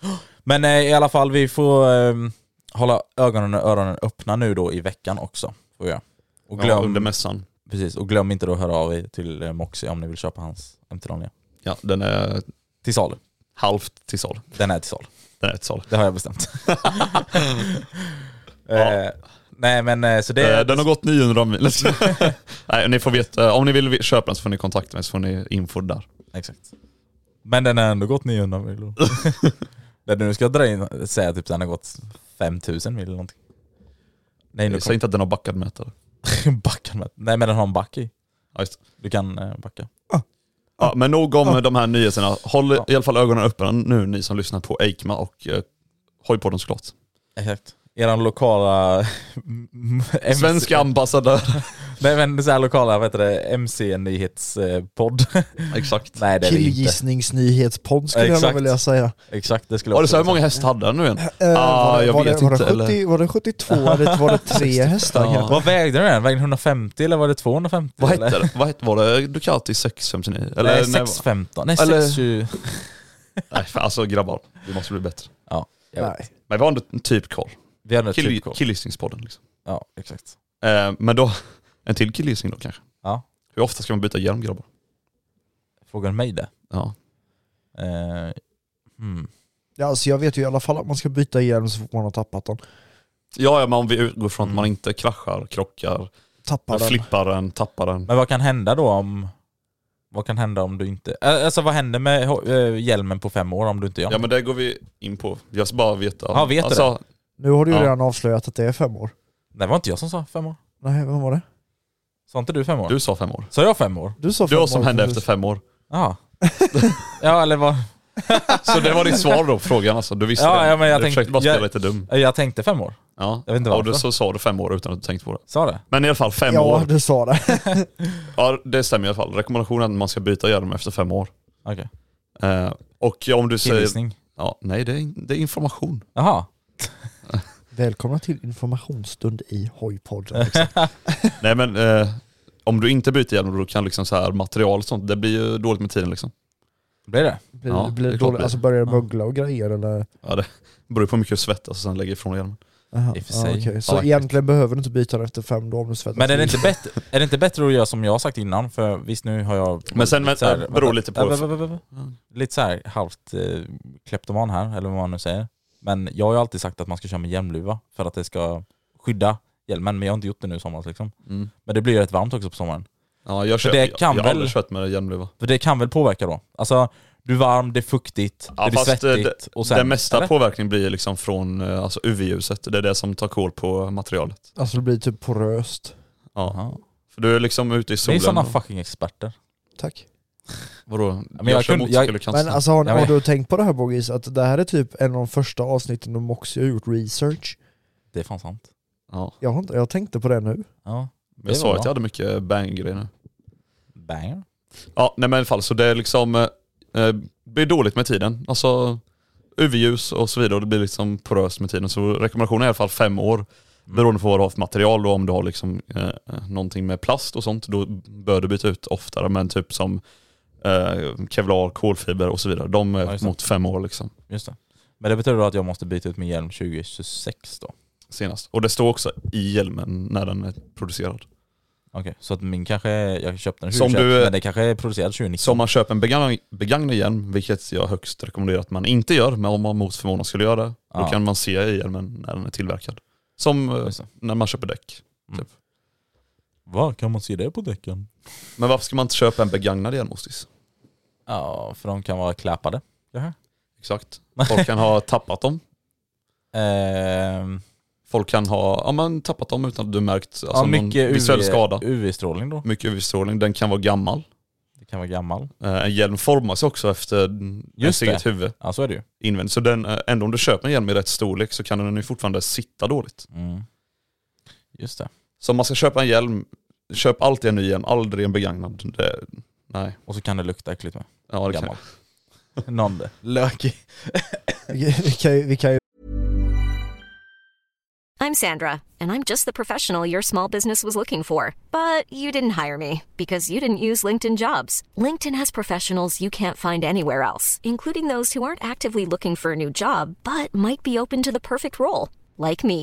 S2: Men eh, i alla fall, vi får eh, hålla ögonen och öronen öppna nu då i veckan också. Får vi göra. Och glöm,
S3: Ja, under mässan.
S2: precis, och glöm inte då att höra av er till eh, Moxie om ni vill köpa hans MT09.
S3: Ja, den är
S2: Till salu.
S3: halvt till salu.
S2: Den är till salu.
S3: Den är till salu.
S2: Det har jag bestämt. eh,
S3: Ja.
S2: nej men eh, så det...
S3: Eh, Den har gått 900 mil. Nej, ni får veta. Om ni vill köpa den så får ni kontakta mig så får ni info där.
S2: Exakt. Men den har ändå gått 900 mil. Där du ska dra in, säga typ den har gått 5000 mil eller någonting. Nej nu
S3: Säg inte att den har backad mätare.
S2: Backar med. Nej men den har en back i.
S3: Ja, just det.
S2: Du kan eh, backa.
S3: Ja, men nog om de här nyheterna. Håll i alla fall ögonen öppna nu ni som lyssnar på Eikma och eh, Hojpodden såklart.
S2: Exakt. Eran lokala... MC
S3: Svenska ambassadör.
S2: Nej men så här lokala, vad heter det, eh, MC-nyhetspodd.
S3: Exakt.
S2: Nej det är det inte.
S1: Killgissningsnyhetspodd skulle jag
S2: Exakt.
S1: vilja säga.
S2: Exakt, det skulle
S3: Var
S2: jag
S3: det så här
S2: också
S3: många hästar hade den nu igen?
S1: Eh,
S3: Ah,
S1: var, det,
S3: jag
S1: var,
S3: vet
S1: det, var, det
S3: inte,
S1: 70,
S3: eller?
S1: var det 72 eller var det 3 hästar?
S3: Ja.
S1: Ja.
S2: Vad vägde den? Vägde den 150 eller var det 250?
S3: Vad
S2: eller?
S3: hette det? Vad hette, var det Ducati 659? Eller,
S2: Nej 615, nej
S3: Eller-
S2: 620.
S3: nej fan, alltså grabbar, vi måste bli bättre.
S2: Ja, jag vet.
S1: Nej.
S3: Men vi har ändå en typ koll.
S2: Vi hade ett typ
S3: Kill,
S2: typkod.
S3: Killgissningspodden liksom.
S2: Ja, exakt.
S3: Eh, men då, en till killgissning då kanske.
S2: Ja.
S3: Hur ofta ska man byta hjälm grabbar?
S2: Frågar du mig det?
S3: Ja.
S2: Eh, hmm.
S1: Ja, alltså jag vet ju i alla fall att man ska byta hjälm så fort man har tappat den.
S3: Ja, ja men om vi utgår från
S2: Mm.
S3: att man inte kraschar, krockar,
S1: Tappar den.
S3: flippar den, tappar den.
S2: Men vad kan hända då om... Vad kan hända om du inte... eh, Alltså vad händer med eh, hjälmen på fem år om du inte gör
S3: Ja men det går vi in på. Jag ska bara veta.
S2: Ja, vet du
S3: alltså,
S1: Nu har du ju
S3: Ja.
S1: redan avslöjat att det är fem år.
S2: Det var inte jag som sa fem år.
S1: Nej, vem var det?
S2: Sa inte du fem år?
S3: Du sa fem år.
S2: Sa jag fem år?
S1: Du sa
S3: Det
S1: fem
S3: var som
S1: år
S3: hände
S1: precis.
S3: efter fem år.
S2: Ja. Ja eller vad?
S3: Så det var ditt svar då på frågan alltså? Du visste
S2: Ja,
S3: det?
S2: ja, men jag
S3: du
S2: tänkte-
S3: försökte bara spela
S2: jag-
S3: lite dum.
S2: Eh, Jag tänkte fem år.
S3: Ja.
S2: jag vet inte
S3: ja, och
S2: varför.
S3: då så sa du fem år utan att du tänkte på det.
S2: Sa det?
S3: Men i alla fall fem
S1: Ja,
S3: år.
S1: du sa det.
S3: Ja, det stämmer i alla fall. Rekommendationen är att man ska byta gödem efter fem år.
S2: Okej.
S3: Eh, och om du säger...
S2: Killgissning.
S3: Ja, nej, det är, in- det är information.
S2: Jaha.
S1: Välkomna till informationsstund i Hojpodden. Liksom.
S3: Nej men, eh, om du inte byter hjälm då kan liksom så här material och sånt, det blir ju dåligt med tiden liksom.
S2: Blir det?
S1: Blir,
S3: Ja,
S1: blir
S3: det är
S1: det
S3: klart
S1: dåligt,
S3: det.
S1: alltså börjar det
S2: Ja.
S1: mögla och grejer eller?
S3: Ja, det beror ju på hur mycket du svettas och sen lägger ifrån hjälmen.
S1: Aha,
S2: I och för
S1: ja,
S2: sig.
S1: okej. Så
S2: Ja, faktiskt.
S1: egentligen behöver du inte byta den efter fem dagar om du svettas.
S2: Men är det, inte
S1: till.
S2: bättre, är det inte bättre att göra som jag har sagt innan? För visst nu har jag...
S3: Men sen
S2: lite
S3: vänta,
S2: så här-
S3: det beror lite på-
S2: Ja, b- b- b- b- Lite så här halvt eh, kleptoman här, eller vad man nu säger. Men jag har ju alltid sagt att man ska köra med hjälmluva för att det ska skydda hjälmen. Men jag har inte gjort det nu i somras liksom.
S3: Mm.
S2: Men det blir ju rätt varmt också på sommaren.
S3: Ja, jag, köper,
S2: det
S3: jag,
S2: kan
S3: jag har aldrig
S2: väl-
S3: kört med hjälmluva.
S2: För det kan väl påverka då? Alltså, du är varm, det är fuktigt,
S3: Ja,
S2: det blir
S3: fast, eh,
S2: svettigt och sen...
S3: Den mesta
S2: eller?
S3: påverkningen blir liksom från eh, alltså UV-ljuset, det är det som tar koll på materialet.
S1: Alltså det blir typ poröst.
S3: Ja.
S2: Ja.
S3: För du är liksom ute
S2: Ni
S3: i
S2: är
S3: solen.
S2: sådana fucking experter.
S1: Tack.
S3: Vadå?
S2: men
S3: jag,
S2: jag
S3: kör
S2: kunde-
S3: motorcykel
S2: jag-
S3: och kan
S1: Men
S3: snabbt.
S1: alltså har,
S2: Jag
S1: har
S2: vet.
S1: du tänkt på det här Boggis, att det här är typ en av de första avsnitten om Moxie har gjort research?
S2: Det är fan sant.
S3: ja.
S1: Jag, har inte, jag tänkte på det nu.
S2: Ja.
S3: Men
S2: det
S3: Jag sa
S2: var
S3: att jag hade mycket bang-grejer nu.
S2: Banger.
S3: Ja, nej men i alla fall så det är liksom, eh, eh, blir dåligt med tiden. Alltså UV-ljus och så vidare och det blir liksom poröst med tiden. Så rekommendationen är i alla fall fem år.
S2: Mm.
S3: Beroende på vad du har för material och om du har liksom eh, eh, någonting med plast och sånt, då bör du byta ut oftare. Men typ som eh, kevlar, kolfiber och så vidare. De
S2: Ja,
S3: är
S2: just det.
S3: mot fem år liksom
S2: Just det. Men det betyder då att jag måste byta ut min hjälm 2026 då?
S3: senast. Och det står också i hjälmen när den är producerad.
S2: Okej, så att min kanske, är- jag köpte den
S3: Som
S2: 2021
S3: du, eh,
S2: men det kanske är producerad 2019.
S3: Så om man köper en begagnad, begagnad hjälm, vilket jag högst rekommenderar att man inte gör, men om man mot förmodan skulle göra det, då
S2: Ja.
S3: kan man se i hjälmen när den är tillverkad. Som eh,
S2: Just det.
S3: när man köper däck.
S2: Vad Mm. kan man se det på däcken?
S3: Men varför ska man inte köpa en begagnad hjälm Ostis?
S2: Ja, för de kan vara kläpade. Jaha.
S3: Exakt. Folk kan ha tappat dem.
S2: Ehm,
S3: Folk kan ha ja, men tappat dem utan att du märkt alltså,
S2: ja, mycket
S3: någon visuell
S2: UV,
S3: skada.
S2: UV-strålning då.
S3: Mycket UV-strålning. Den kan vara gammal.
S2: Det kan vara gammal.
S3: Eh, En hjälm formas också efter ens
S2: Just
S3: eget
S2: det.
S3: huvud
S2: Ja, så är det ju.
S3: invändigt. Så den, eh, ändå om du köper en hjälm i rätt storlek så kan den ju fortfarande sitta dåligt.
S2: Mm. Just det.
S3: Så om man ska köpa en hjälm, köp alltid en ny hjälm, aldrig en begagnad. Det, nej.
S2: Och så kan det lukta äckligt med.
S3: Ja, det kan.
S2: Gammal. Någon där. Lökig.
S1: Vi vi kan ju, vi kan ju
S5: I'm Sandra, and I'm just the professional your small business was looking for. But you didn't hire me because you didn't use LinkedIn jobs. LinkedIn has professionals you can't find anywhere else, including those who aren't actively looking for a new job but might be open to the perfect role, like me.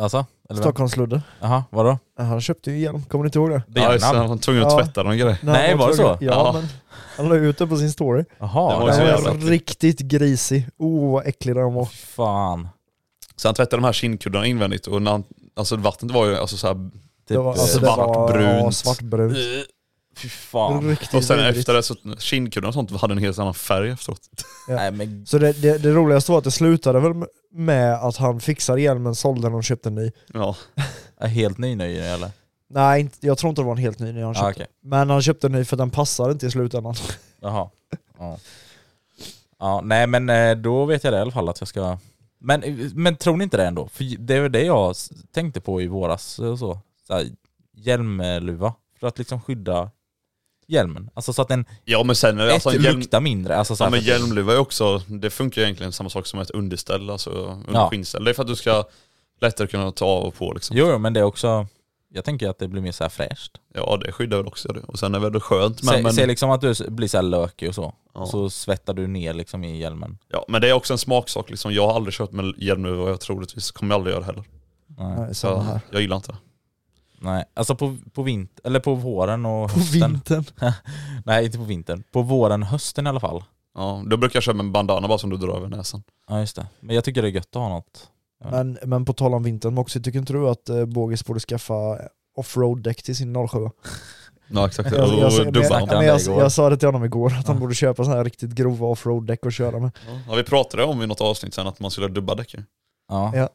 S2: Alltså? Eller vem?
S1: Stockholms-Ludde.
S2: Jaha, vadå?
S1: Han köpte ju igen, kommer ni inte ihåg det?
S3: Ja, just det, han var tvungen att
S1: Ja.
S3: tvätta någon grej.
S1: När
S2: Nej,
S1: han
S2: var det
S1: tvungen-
S2: så?
S1: Ja,
S3: Ja.
S1: men han la ut det på sin story.
S2: Jaha.
S3: Det var
S1: Den
S3: så
S1: var
S3: jävla äcklig.
S1: riktigt grisig. Oh vad äcklig den var.
S2: Fy Fan.
S3: Så han tvättade de här kindkuddarna invändigt och när han, alltså vattnet var ju alltså så här,
S2: Typ,
S1: Det var, alltså, det var
S3: svartbrunt.
S1: ja, svartbrunt.
S2: eh, Fy fan.
S1: Riktigt
S3: och sen
S1: vidrigt.
S3: efter det så kindkuddarna och sånt hade en helt annan färg efteråt.
S2: Nej men
S1: Så det, det, det roligaste var att det slutade väl med att han fixade hjälmen, sålde den och köpte en ny.
S3: Ja.
S2: är helt ny nu eller?
S1: Nej, inte, jag tror inte det var en helt ny när han köpte.
S2: Ah, okej.
S1: Men han köpte en ny för den passade inte i slutändan.
S2: Jaha. Ja. ja. Nej men eh, då vet jag det i alla fall att jag ska... Men, eh, men tror ni inte det ändå? För det var det jag s- tänkte på i våras eh, och så. så här, hjälmluva. För att liksom skydda hjälmen. Alltså så att den
S3: ja men sen, alltså en
S2: ett,
S3: hjälm,
S2: luktar mindre. Alltså så
S3: ja,
S2: här,
S3: men
S2: för att-
S3: hjälmluva är också, det funkar ju egentligen samma sak som ett underställ, alltså under
S2: Ja.
S3: skinnställ. Det är för att du ska lättare kunna ta av och på liksom.
S2: Jo, jo men det är också... Jag tänker att det blir mer så här fräscht.
S3: Ja det skyddar väl också det. Och sen är det väl skönt med...
S2: Säg,
S3: men...
S2: säg liksom att du s- blir så här lökig och så. Och så svettar du ner liksom i hjälmen.
S3: Ja, men det är också en smaksak liksom. Jag har aldrig kört med hjälm nu och jag troligtvis kommer jag aldrig göra det heller.
S2: Nej. Nej,
S3: så
S2: samma här.
S3: jag gillar inte det.
S2: Nej, alltså på, på vinter, eller på våren och
S1: På
S2: hösten.
S1: vintern?
S2: Nej, inte på vintern. På våren, hösten i alla fall.
S3: Ja, då brukar jag köra med en bandana bara som du drar över näsan.
S2: Ja, just det. Men jag tycker det är gött att ha något.
S1: Men, men på tal om vintern Moxie, tycker inte du att eh, Bågis borde skaffa offroad-däck till sin 07?
S3: Ja exakt,
S1: Jag,
S2: Oh,
S1: jag, jag, men, jag, men jag, jag
S3: jag,
S1: sa det till honom igår, att han borde köpa sådana här riktigt grova offroad-däck och köra med.
S3: ja, vi pratade om i något avsnitt sen att man skulle dubba däck ju.
S2: Ja.
S1: Ja. Ja,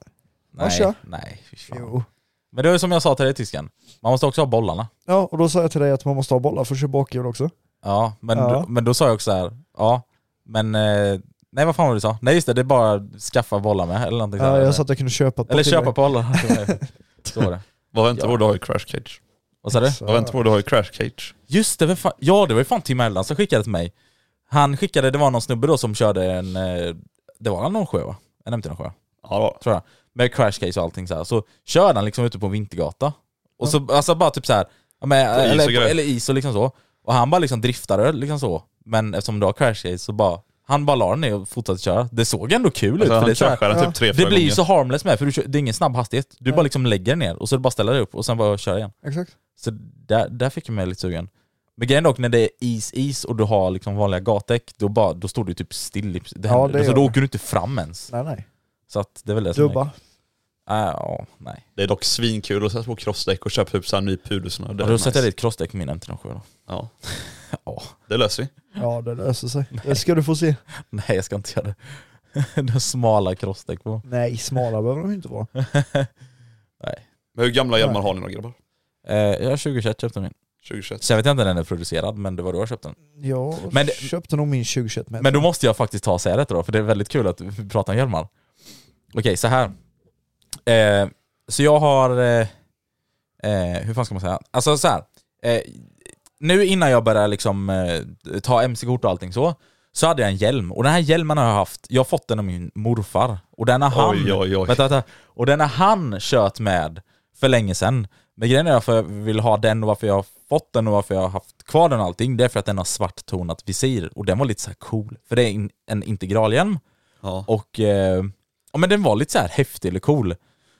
S2: Nej,
S1: kör.
S2: nej, fy fan.
S1: Jo.
S2: Men det är som jag sa till dig tysken, man måste också ha bollarna.
S1: Ja, och då sa jag till dig att man måste ha bollar för att köra bakhjul också.
S2: Ja, men,
S1: Ja.
S2: Då, men då sa jag också så här, ja, men eh, nej vad fan var det du sa? Nej just det, det är bara att skaffa bollar med eller någonting så här,
S1: Ja,
S2: eller-
S1: jag sa att jag kunde köpa ett par
S2: Eller
S1: till
S2: köpa
S1: dig.
S2: bollar. till mig. så var det.
S3: Vad väntar
S2: Ja.
S3: på? Du har ju crash cage.
S2: Vad sa du?
S3: Vad väntar på? Du har ju crash cage.
S2: Just det, vem fan, ja det var ju fan Tim Ellan som skickade till mig. Han skickade, det var någon snubbe då som körde en, eh, det var en 07 va? En MT-07?
S3: Ja det var
S2: Tror jag. Med crash case och allting så här. Så körde han liksom ute på en vintergata. Och så, alltså bara typ så här, ja, men,
S3: På is och
S2: eller,
S3: grejer.
S2: eller is och liksom så. Och han bara liksom driftade liksom så. Men eftersom det var crash case så bara, han bara la den ner och fortsatte köra. Det såg ändå kul ut.
S3: Alltså,
S2: för
S3: han
S2: det är så här-
S3: kraschade den typ tre,
S2: Det
S3: fyra
S2: blir ju
S3: gånger.
S2: så harmless med, för du kör, det är ingen snabb hastighet. Du bara liksom lägger den ner och så bara ställer dig upp och sen bara kör igen.
S1: Exakt.
S2: Så där, där fick jag mig lite sugen. Men grejen dock när det är is-is och du har liksom vanliga gatdäck, då, bara, då står du typ still. i- Det
S1: Ja,
S2: ja,
S1: det
S2: alltså,
S1: gör
S2: då
S1: det.
S2: åker du inte fram ens.
S1: Nej, nej.
S2: Så att det är väl det som är-
S1: Dubba.
S2: Ah, ja, nej.
S3: Det är dock svinkul att sätta på crossdäck och köpa typ såhär ny pudelsnö.
S2: Då sätter jag dit crossdäck på min MT-07 då.
S3: Ja.
S2: ja.
S3: Det löser vi.
S1: Ja, det löser sig. Det ska du få se.
S2: Nej jag ska inte göra det. det är smala crossdäck på.
S1: Nej, smala behöver de ju inte vara.
S2: Nej.
S3: Men hur gamla hjälmar har ni då grabbar?
S2: Eh, jag har 2021 köpte min.
S3: 2021.
S2: Sen vet jag inte när den är producerad men det var då jag köpte den.
S1: Jag
S2: Men det-
S1: köpte nog min 2021 med.
S2: Men då måste jag faktiskt ta och säga detta då, för det är väldigt kul att vi pratar om hjälmar. Okej, så här. Eh, så jag har... Eh, eh, hur fan ska man säga? Alltså så här. Eh, nu innan jag började liksom, eh, ta mc-kort och allting så, så hade jag en hjälm. Och den här hjälmen har jag haft, jag har fått den av min morfar. Och den har han...
S3: Oj, oj, oj.
S2: Vänta, vänta. Och den har han kört med för länge sedan. Men grejen är varför jag vill ha den och varför jag har fått den och varför jag har haft kvar den och allting, det är för att den har svarttonat visir. Och den var lite så här cool. För det är in, en integralhjälm.
S3: Ja.
S2: Och eh, ja, men den var lite så här häftig eller cool.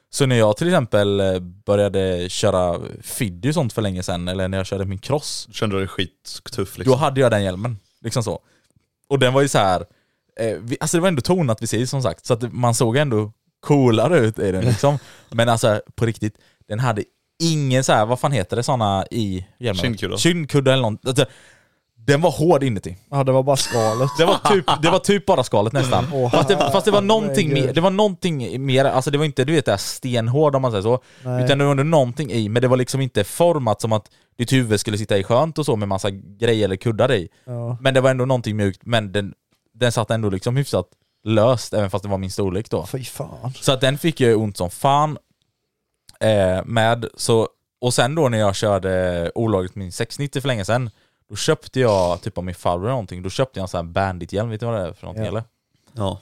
S2: Så när jag till exempel eh, började köra fiddy och sånt för länge sedan, eller när jag körde min cross,
S3: Kände du dig skittuff
S2: då
S3: liksom?
S2: hade jag den hjälmen. Liksom så. Och den var ju så här, eh, vi, alltså det var ändå tonat visir som sagt, så att man såg ändå coolare ut i den liksom. Men alltså på riktigt, den hade ingen så här, vad fan heter det såna i hjälmen?
S3: Kindkuddar.
S2: Kindkuddar eller något. Alltså, den var hård inuti.
S1: Ja, det var bara skalet.
S2: Det var typ, det var typ bara skalet nästan.
S1: Åh,
S2: fast, det, fast det var någonting
S1: herregud.
S2: mer, det var någonting mer, alltså det var inte du vet det här stenhård om man säger så,
S1: Nej.
S2: utan det var ändå någonting i, men det var liksom inte format som att ditt huvud skulle sitta i skönt och så med massa grejer eller kuddar i.
S1: Ja.
S2: Men det var ändå någonting mjukt, men den, den satt ändå liksom hyfsat löst, även fast det var min storlek då.
S1: Fy fan.
S2: Så att den fick jag ont som fan eh, med. Så, och sen då när jag körde olagligt min 690 för länge sedan, då köpte jag typ av min farbror eller någonting, då köpte jag en sån här bandit-hjälm, vet du vad det är för någonting
S1: Ja.
S2: eller?
S3: Ja.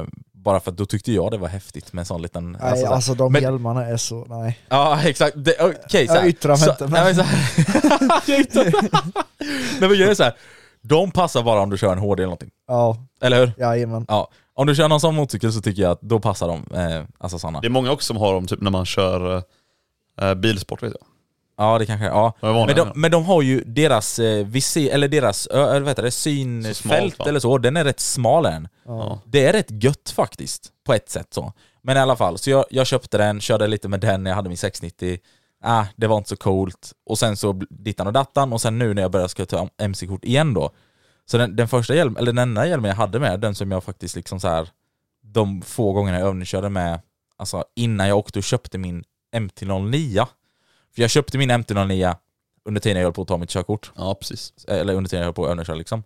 S2: Eh, bara för att då tyckte jag det var häftigt med en sån liten...
S1: Nej, alltså,
S2: så här-
S1: de
S2: men,
S1: hjälmarna är så, nej.
S2: Ja exakt, Det- okej okay,
S1: Jag yttrar mig inte, men-
S2: Nej men så här. Jag yttrar mig. Nej men grejen är så här. de passar bara om du kör en HD eller någonting.
S1: Ja,
S2: Eller hur?
S1: jajamän.
S2: Ja. Om du kör någon sån motorcykel så tycker jag att då passar de, eh, alltså såna.
S3: Det är många också som har dem typ när man kör eh, bilsport vet jag.
S2: Ja det kanske, ja.
S3: De är vanliga.
S2: Men de, men de har ju deras eh, visi, eller deras ö, eller vad heter det, synfält
S3: Så smalt, va?
S2: eller så, den är rätt smal än.
S3: Ja.
S2: Det är rätt gött faktiskt, på ett sätt så. Men i alla fall, så jag, jag köpte den, körde lite med den, jag hade min 690. Ah, det var inte så coolt. Och sen så bl- dittan och dattan, och sen nu när jag började ska ta MC-kort igen då. Så den, den första hjälmen, eller den enda hjälmen jag hade med, den som jag faktiskt liksom så här de få gångerna jag övningskörde med, alltså innan jag åkte och köpte min MT-09. För jag köpte min MT-09 under tiden jag höll på att ta mitt körkort.
S3: ja, precis.
S2: Eller under tiden jag höll på att övningsköra liksom.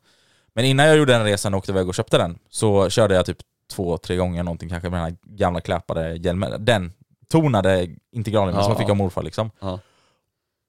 S2: Men innan jag gjorde den resan och åkte iväg och köpte den så körde jag typ två, tre gånger någonting kanske med den här gamla kläpade hjälmen. Den tonade integralen
S3: Ja,
S2: som jag fick
S3: ja.
S2: av morfar liksom.
S3: Ja.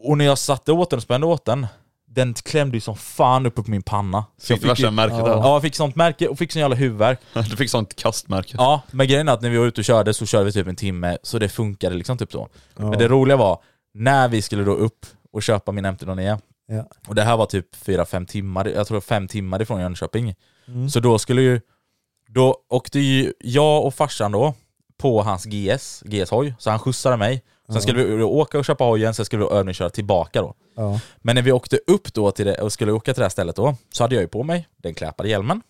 S2: Och när jag satte åt den och spände åt den, den klämde ju som fan uppe på min panna. Så jag
S3: Fick du
S2: fick ju,
S3: värsta märket där?
S2: ja, jag fick sånt märke och fick sån jävla huvudvärk.
S3: Du fick sånt kastmärke.
S2: Ja, men grejen är att när vi var ute och körde så körde vi typ en timme, så det funkade liksom typ så. Men det roliga var, När vi skulle då upp och köpa min MT-09,
S1: Ja.
S2: och det här var typ 4-5 timmar, jag tror fem timmar ifrån Jönköping.
S1: Mm.
S2: Så då skulle ju, då åkte ju jag och farsan då på hans GS, GS-hoj, så han skjutsade mig. Sen
S1: Ja.
S2: skulle vi då åka och köpa hojen, sen skulle vi övningsköra tillbaka då.
S1: Ja.
S2: Men när vi åkte upp då till det, och skulle åka till det här stället då, så hade jag ju på mig den kläpade hjälmen.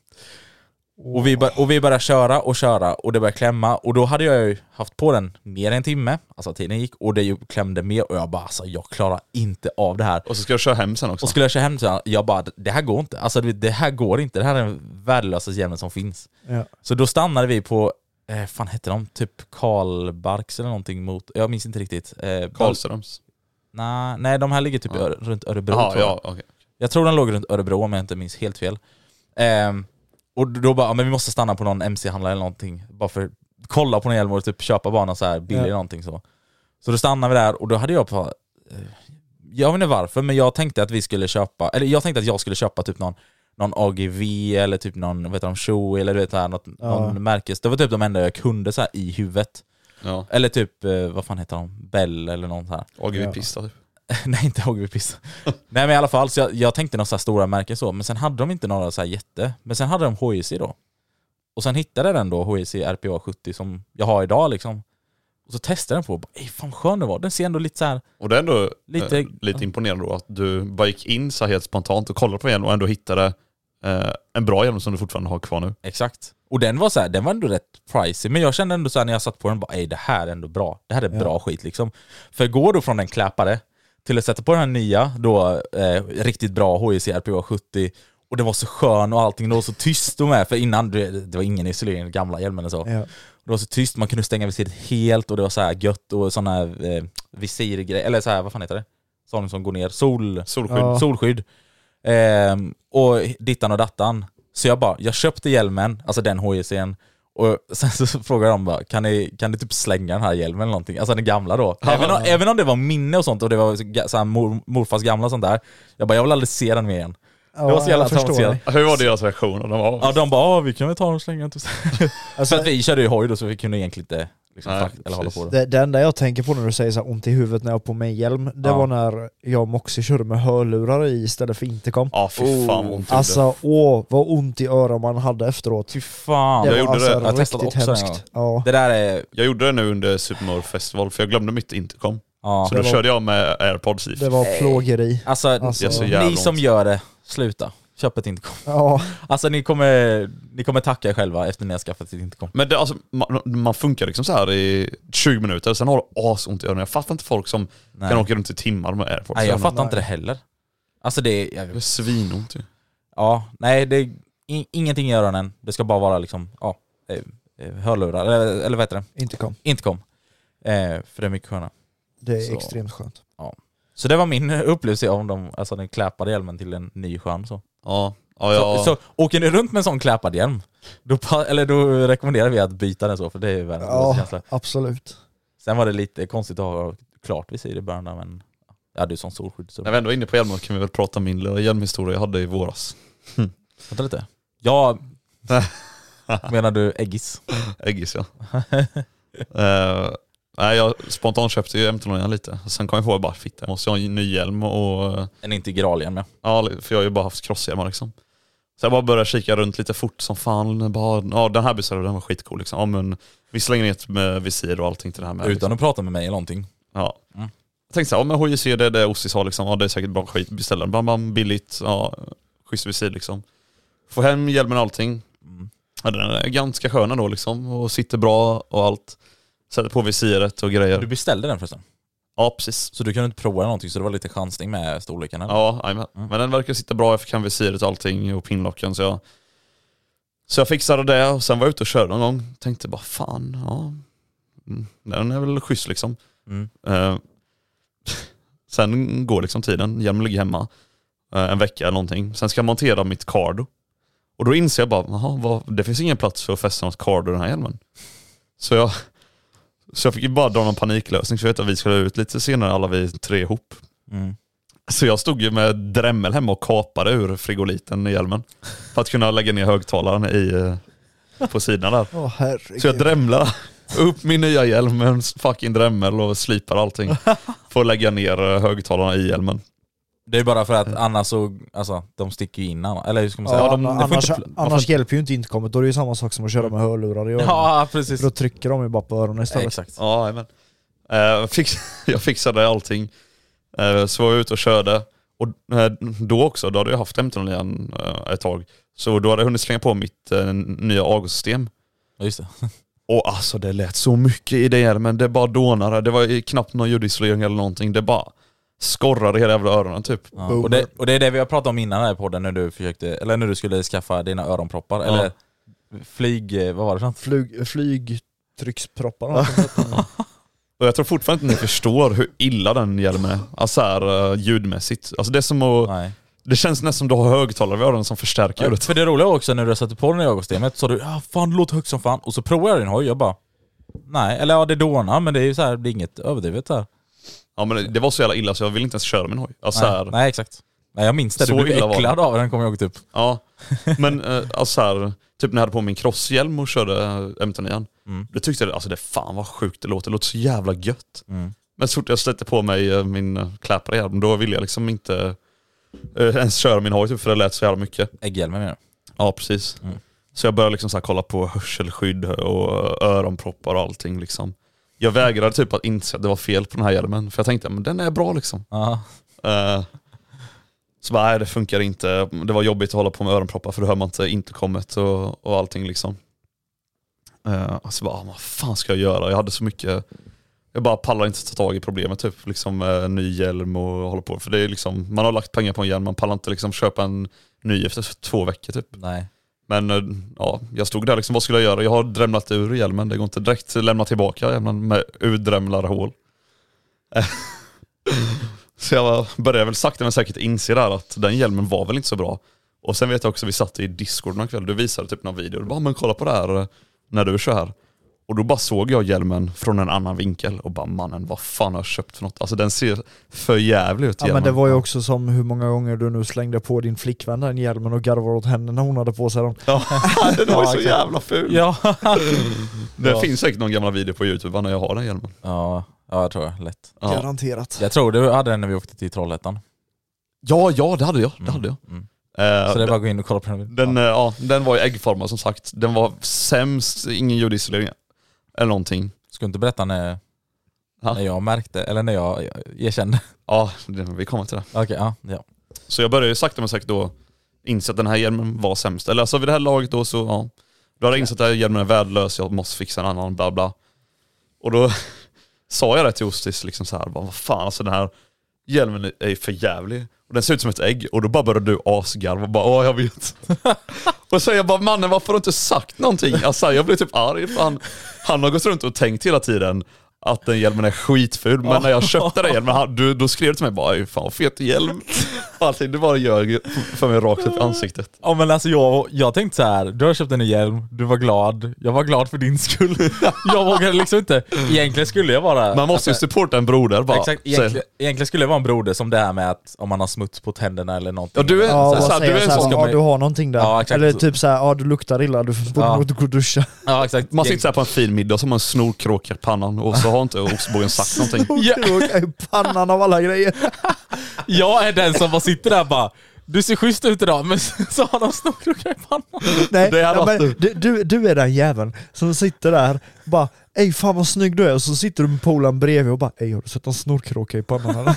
S2: Och vi, bör, och vi började köra och köra och det började klämma och då hade jag ju haft på den mer än en timme, alltså tiden gick och det ju klämde mer och jag bara alltså jag klarar inte av det här.
S3: Och så ska jag köra hem sen också.
S2: Och skulle jag köra hem sen, jag bara det här går inte, alltså du vet, det här går inte, det här är den värdelösaste hjälmen som finns.
S1: Ja.
S2: Så då stannade vi på, eh, fan hette de, typ Karlbarks eller någonting mot, jag minns inte riktigt. Eh,
S3: Karlströms?
S2: Nej, nej, de här ligger typ i Öre- runt Örebro
S3: Jaha,
S2: tror jag.
S3: ja, okej.
S2: Jag tror den låg runt Örebro om jag inte minns helt fel. Ehm, och då bara, ja, men vi måste stanna på någon MC-handlare eller någonting, bara för att kolla på någon hjälm och typ köpa bara någon så här billig
S1: Ja.
S2: någonting så. Så då stannade vi där och då hade jag på, eh, jag vet inte varför, men jag tänkte att vi skulle köpa, eller jag tänkte att jag skulle köpa typ någon någon AGV eller typ någon, vad heter de, Shoei eller du vet så här, något,
S1: Ja.
S2: någon märkes. Det var typ de enda jag kunde så här i huvudet.
S3: Ja.
S2: Eller typ, eh, vad fan heter de, Bell eller någon så här.
S3: AGV
S2: Ja.
S3: Pista typ.
S2: Nej, inte Hogby Pissa. Nej men i alla fall, så jag, jag tänkte några så här stora märken så, men sen hade de inte några så här jätte. Men sen hade de HJC då. Och sen hittade jag den då, HJC RPA 70 som jag har idag liksom. Och så testade jag den på och bara, "Ey, fan vad skön den var. Den ser ändå lite så här.
S3: Och det är ändå eh,
S2: Lite-
S3: lite imponerande då att du bara gick in så här helt spontant och kollade på en hjälm och ändå hittade eh, en bra hjälm som du fortfarande har kvar nu.
S2: Exakt. Och den var så här, den var ändå rätt pricey, men jag kände ändå så här när jag satt på den, bara, "Ey, det här är ändå bra. Det här är
S1: Ja.
S2: bra skit liksom. För går du från en kläpare till att sätta på den här nya, då eh, riktigt bra HJC RPA 70, och den var så skön och allting, det var så tyst och med, för innan det, det var ingen isolering i den gamla hjälmen och så.
S1: Ja.
S2: Det var så tyst, man kunde stänga visiret helt och det var så här gött och sådana här eh, visirgrejer, eller så här, vad fan heter det? Sådana som går ner, sol,
S3: Solskydd.
S1: Ja.
S2: solskydd. Ehm, och dittan och dattan. Så jag bara, jag köpte hjälmen, alltså den HJC'n, och sen så frågade de bara, kan ni, kan ni typ slänga den här hjälmen eller någonting? Alltså den gamla då. Även om, även om det var minne och sånt och det var så ga- så här mor, morfars gamla och sånt där. Jag bara, jag vill aldrig se den mer igen.
S1: Ja,
S2: det var så jävla
S1: jag förstår
S2: traumatiserat.
S1: dig.
S3: Hur var deras reaktion? Och de var,
S2: Ja de bara, "Ah, vi kan väl ta den och slänga den. typ."
S1: Alltså-
S2: För att vi körde ju hoj då så vi kunde egentligen inte liksom,
S3: Nej,
S2: fakt- eller hålla
S3: precis.
S2: på det.
S1: Det, det enda jag tänker på när du säger så här ont i huvudet när jag har på mig hjälm, det
S2: Ja.
S1: var när jag och Moxie körde med hörlurar i istället för intercom.
S3: Ja fy fan vad ont det gjorde.
S1: Alltså åh, vad ont i öronen man hade efteråt. alltså
S2: Fy fan.
S3: jag gjorde det.
S2: Jag testade
S1: riktigt
S2: också den
S1: hemskt. Ja.
S2: Det där är...
S3: Jag gjorde det nu under Super Mario Festival för jag glömde mitt intercom.
S2: Ja.
S3: Så då
S1: Det var-
S3: körde jag med airpods i.
S1: Det var plågeri.
S2: Alltså,
S1: Alltså,
S3: jag är så jävla
S2: ni
S3: ont.
S2: som gör det, sluta. Köp ett intercom.
S1: Ja,
S2: Alltså ni kommer, ni kommer tacka er själva efter ni har skaffat ett intercom.
S3: Men det, alltså, man, man funkar liksom så här i 20 minuter, sen har du asont i öronen. Jag fattar inte folk som
S2: Nej.
S3: kan åka runt i timmar med airpods.
S2: Nej,
S3: i
S2: jag
S3: öronen.
S2: fattar inte det heller. Alltså det är...
S3: Det är
S2: Jag,
S3: svinont ju.
S2: ja, nej det är in, ingenting i öronen. Det ska bara vara liksom, ja, eh, eh, hörlurar, eller, eller vad heter det?
S1: intercom.
S2: Intercom. Eh, för det är mycket skönare.
S1: Det är
S2: Så.
S1: extremt skönt.
S2: Så det var min upplevelse om de, alltså den kläpade hjälmen till en ny skön så.
S3: Ja. Ja, ja.
S2: Så, så åker ni runt med en sån kläpad hjälm, då, pa- eller då rekommenderar vi att byta den så, för det är världens bästa
S1: Ja,
S2: känsla.
S1: absolut.
S2: Sen var det lite konstigt att ha klart visir i början där, men jag hade ju sån solskydd så
S3: När vi ändå är inne på hjälmen kan vi väl prata om min lilla hjälmhistoria jag hade i våras.
S2: vänta lite. Ja, menar du äggis?
S3: Äggis ja. Eh, nej, jag spontant köpte ju MT-lådan lite. Sen kom jag på att jag bara fitta, jag måste ha en ny hjälm och eh,
S2: En integral hjälm ja.
S3: Ja, för jag har ju bara haft crosshjälmar liksom. Så jag bara började kika runt lite fort som fan. Bara, ja, den här bussaren den var skitcool liksom. Ja, men vi slänger ner ett med visir och allting till det här med.
S2: Utan
S3: liksom.
S2: att prata med mig eller någonting.
S3: Ja.
S2: Mm.
S3: Jag tänkte så här, ja men HJC det är det Ossis har liksom. Ja det är säkert bra skit. Beställer den. Bam, bam, billigt. Ja, schysst visir liksom. Får hem hjälmen och allting.
S2: Mm.
S3: Ja, den är ganska skön då liksom och sitter bra och allt. Sätter på visiret och
S2: Du
S3: grejer.
S2: beställde den förresten,
S3: Ja precis.
S2: så du kunde inte prova någonting så det var lite chansning med storleken eller?
S3: Ja, jajamän.
S2: Mm.
S3: men den verkar sitta bra. Jag fick hem visiret och allting och pinlocken så jag Så jag fixade det och sen var jag ute och körde någon gång. Tänkte bara fan, ja. mm, Den är väl schysst liksom.
S2: Mm.
S3: Eh, sen går liksom tiden, hjälmen ligger hemma eh, en vecka eller någonting. Sen ska jag montera mitt cardo. Och då inser jag bara, jaha, vad, det finns ingen plats för att fästa något cardo i den här hjälmen. Så jag, så jag fick ju bara dra någon paniklösning, för jag vet att vi skulle ut lite senare alla vi tre ihop.
S2: Mm.
S3: Så jag stod ju med drämmel hemma och kapade ur frigoliten i hjälmen. För att kunna lägga ner högtalaren i, eh, på sidan där.
S1: Åh
S3: Så jag
S1: herregud.
S3: drämlade Upp min nya hjälm med en fucking drämmel och slipar allting. Får lägga ner eh, högtalarna i hjälmen.
S2: Det är bara för att annars så, alltså de sticker ju in anna- eller hur ska man säga?
S1: Ja,
S2: de, de får
S1: annars
S2: inte pl- man får
S1: annars
S2: inte-
S1: hjälper ju inte inkommet, då är det ju samma sak som att köra med hörlurar i öronen.
S2: Ja, precis.
S1: För då trycker de ju bara på öronen istället.
S2: Exakt.
S3: Ja, amen. Eh, fix, jag fixade allting. Eh, så var jag ute och körde. Och eh, då också, då hade jag haft 15 igen eh, ett tag. Så då hade jag hunnit slänga på mitt eh, nya AGO-system.
S2: Just det.
S3: Och alltså det lät så mycket i det men det bara dånade. Det var ju knappt någon ljudisolering eller någonting. Det bara skorrade i hela jävla öronen typ.
S2: Ja, och, det, och det är det vi har pratat om innan här i podden när du försökte, eller när du skulle skaffa dina öronproppar,
S3: Ja.
S2: eller flyg, eh, vad var det för något?
S1: Flyg, flygtrycksproppar.
S3: Och jag tror fortfarande inte ni förstår hur illa den hjälmen är. Alltså här, eh, ljudmässigt. Alltså det är som att... Det känns nästan som du har högtalare vid öronen som förstärker ljudet.
S2: För det roliga var också när du satte på den i ögonstemet så sa du ah, fan det låter högt som fan och så provade jag din hoj jag bara Nej, eller ja det dånar men det är ju så här, det är inget överdrivet här.
S3: Ja men det- det var så jävla illa så jag ville inte ens köra min hoj. Alltså
S2: nej,
S3: här,
S2: nej exakt. Nej jag minns det,
S3: Så
S2: du blev
S3: illa var
S2: äcklad
S3: det.
S2: av den kommer jag ihåg typ.
S3: Ja, men eh, alltså så här, typ när jag hade på min crosshjälm och körde eh, MT9.
S2: Mm.
S3: Då tyckte jag alltså det fan vad sjukt det låter, det låter så jävla gött.
S2: Mm.
S3: Men så fort jag släppte på mig eh, min eh, kläpare hjälm, då ville jag liksom inte eh, ens köra min hoj typ, för det lät så jävla mycket.
S2: Ägghjälmen menar
S3: du? Ja precis. Så jag började liksom så här kolla på hörselskydd och öronproppar och allting liksom. Jag vägrade typ att inse att det var fel på den här hjälmen, för jag tänkte men den är bra liksom. Eh, så bara, nej det funkar inte. Det var jobbigt att hålla på med öronproppar för då hör man inte intercomet och, och allting liksom. Eh, och så bara, ah, vad fan ska jag göra? Jag hade så mycket, jag bara pallar inte ta tag i problemet typ. Liksom eh, ny hjälm och hålla på. För det är liksom, man har lagt pengar på en hjälm, man pallar inte liksom köpa en ny efter två veckor typ.
S2: Nej.
S3: Men eh, ja, jag stod där liksom, vad skulle jag göra? Jag har drämlat ur hjälmen, det går inte direkt att lämna tillbaka hjälmen med urdrämlade hål. Eh, så jag var- började väl sakta men säkert inse där att den hjälmen var väl inte så bra. Och sen vet jag också, vi satt i discord någon kväll, du visade typ någon video, du bara men kolla på det här eh, när du kör här. Och då bara såg jag hjälmen från en annan vinkel och bara mannen vad fan har jag köpt för något? Alltså den ser för jävlig ut
S1: Ja men det var ju också som hur många gånger du nu slängde på din flickvän den hjälmen och garvade åt henne när hon hade på sig den.
S3: Ja, den var ju så
S1: exakt.
S3: jävla ful.
S2: Ja.
S3: Det
S2: Ja.
S3: finns säkert någon gammal video på youtube när jag har den hjälmen.
S2: Ja, ja jag tror jag, lätt.
S3: Ja.
S1: Garanterat.
S2: Jag tror du hade den när vi åkte till Trollhättan. Mm.
S3: Ja, ja det hade jag. Det hade jag. Eh,
S2: Så det är
S3: den-
S2: bara att gå in och kolla på den.
S3: den, eh, ja, den var ju äggformad som sagt. Den var sämst, ingen ljudisolering eller någonting.
S2: Ska du inte berätta när,
S3: Ja.
S2: när jag märkte, eller när jag jag erkände?
S3: Ja, det, vi kommer till det.
S2: Okej, ja, ja.
S3: Så jag började ju sakta men säkert då inse att den här hjälmen var sämst. Eller alltså vid det här laget då så, ja. Då hade jag insett att den här hjälmen är värdelös, jag måste fixa en annan, bla bla. Och då sa jag det till Ostis liksom så här, bara, vad fan alltså den här hjälmen är ju för jävlig. Och den ser ut som ett ägg och då bara började du asgarva och bara åh jag vet. och så jag bara mannen varför har du inte sagt någonting? Alltså jag blev typ arg för han, han har gått runt och tänkt hela tiden att den hjälmen är skitful men när jag köpte den hjälmen han, du, då skrev du till mig bara "Ey, fan vad fet hjälm. Allting du bara ljög för mig rakt upp i ansiktet.
S2: Ja men alltså jag, jag tänkte så här. du har köpt en ny hjälm, du var glad, jag var glad för din skull. jag vågade liksom inte, egentligen skulle jag vara...
S3: Man måste ju
S2: alltså,
S3: supporta en broder bara.
S2: Exakt,
S3: Så-
S2: egentligen, egentligen skulle jag vara en broder som det här med att om man har smuts på tänderna eller någonting.
S3: Ja, du är-
S2: Eller
S1: Ja,
S2: så här,
S1: vad säger
S2: så här,
S1: såhär,
S2: ska
S1: ja
S2: man-
S1: du har någonting där.
S2: Ja, exakt.
S1: Eller typ såhär, ja du luktar illa, du borde
S2: Ja.
S1: nog gå och duscha.
S2: Ja exakt.
S3: Man sitter så här på en fin middag och så har man en snorkråka i pannan och så har inte ostbågen sagt någonting.
S1: Snorkråka i pannan av alla grejer.
S2: Jag är den som bara sitter där och bara, du ser schysst ut idag men så har de snorkråka i pannan.
S1: Nej,
S2: Det hade
S1: ja,
S2: varit
S1: men du, du, du är den jäveln som sitter där bara Ey fan vad snygg du är och så sitter du med polaren bredvid och bara Ey har du sett en snorkråka i pannan eller?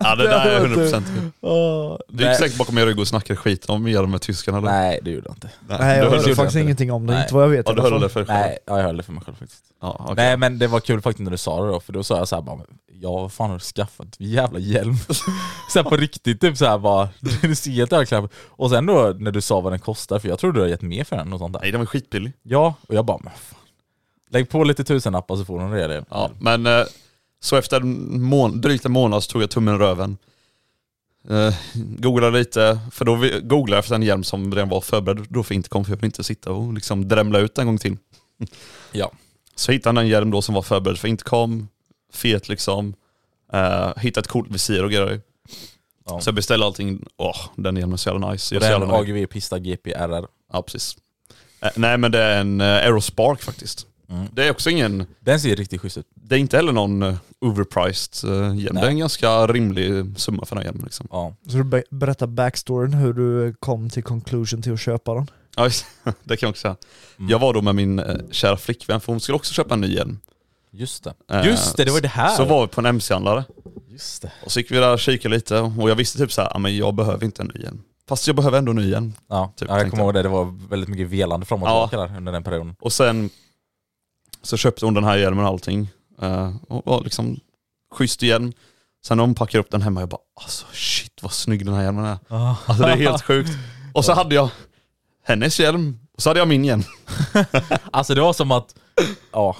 S3: Ja det där är jag 100%
S1: Åh.
S3: Du gick säkert bakom min rygg och snackade skit om er med tyskarna eller?
S2: Nej det gjorde jag inte.
S1: Nej
S3: du
S1: jag
S3: höll det
S1: hörde
S3: för
S1: faktiskt
S3: dig.
S1: ingenting om det,
S2: Nej.
S1: inte vad jag vet
S3: Ja,
S1: i
S3: du
S1: alla fall.
S3: höll det för dig själv?
S2: Nej, ja, jag höll det för mig själv faktiskt.
S3: Ja, okej.
S2: Nej men det var kul faktiskt när du sa det då, för då sa jag såhär bara Ja vad fan har du skaffat för jävla hjälm? såhär på riktigt typ såhär bara, du ser helt överklädd Och sen då när du sa vad den kostar, för jag trodde du hade gett mer för den och sånt där
S3: Nej den var skitbillig.
S2: Ja, och jag bara men fan. Lägg på lite tusenlappar så får du en rejäl hjälm.
S3: Ja, men eh, så efter en mån- drygt en månad så tog jag tummen i röven. Eh, googlade lite, för då vi- googlade jag efter en hjälm som redan var förberedd då för intercom för jag vill inte sitta och liksom drämla ut en gång till.
S2: Ja.
S3: Så hittade jag en hjälm då som var förberedd för intercom, fet liksom. Eh, hittade ett coolt visir och grejer.
S2: Ja.
S3: Så jag beställde allting, åh den hjälmen är så jävla
S2: Och
S3: nice. Jag
S2: det
S3: är så
S2: är
S3: jävla
S2: en
S3: nöjd.
S2: AGV Pista GPRR.
S3: Ja precis. Eh, nej men det är en eh, Aerospark faktiskt. Det är också ingen...
S2: Den ser riktigt schysst ut.
S3: Det är inte heller någon eh, overpriced uh, hjälm. Det är en ganska rimlig summa för den här hjälmen liksom.
S2: Ja.
S1: Så du be- berättar backstoryn hur du kom till conclusion till att köpa den?
S3: Ja, just- det kan jag också säga.
S2: Mm.
S3: Jag var då med min eh, kära flickvän, för hon skulle också köpa en ny hjälm.
S2: Just det.
S3: Eh,
S2: Just det, det var det här.
S3: Så var vi på en MC-handlare.
S2: Just det.
S3: Och så gick vi där och kikade lite och jag visste typ så här, "Ja, men jag behöver inte en ny hjälm. Fast jag behöver ändå en ny hjälm.
S2: Ja,
S3: Typ,
S2: ja jag
S3: tänkte
S2: kommer ihåg det. Det var väldigt mycket velande fram och
S3: Ja.
S2: tillbaka där under den perioden.
S3: Och sen så köpte hon den här hjälmen och allting. Eh, och var liksom schysst hjälm. Sen när hon packade upp den hemma, jag bara alltså shit vad snygg den här hjälmen är.
S2: Ah.
S3: Alltså det är helt sjukt. Och så hade jag hennes hjälm och så hade jag min hjälm.
S2: Alltså det var som att, ja.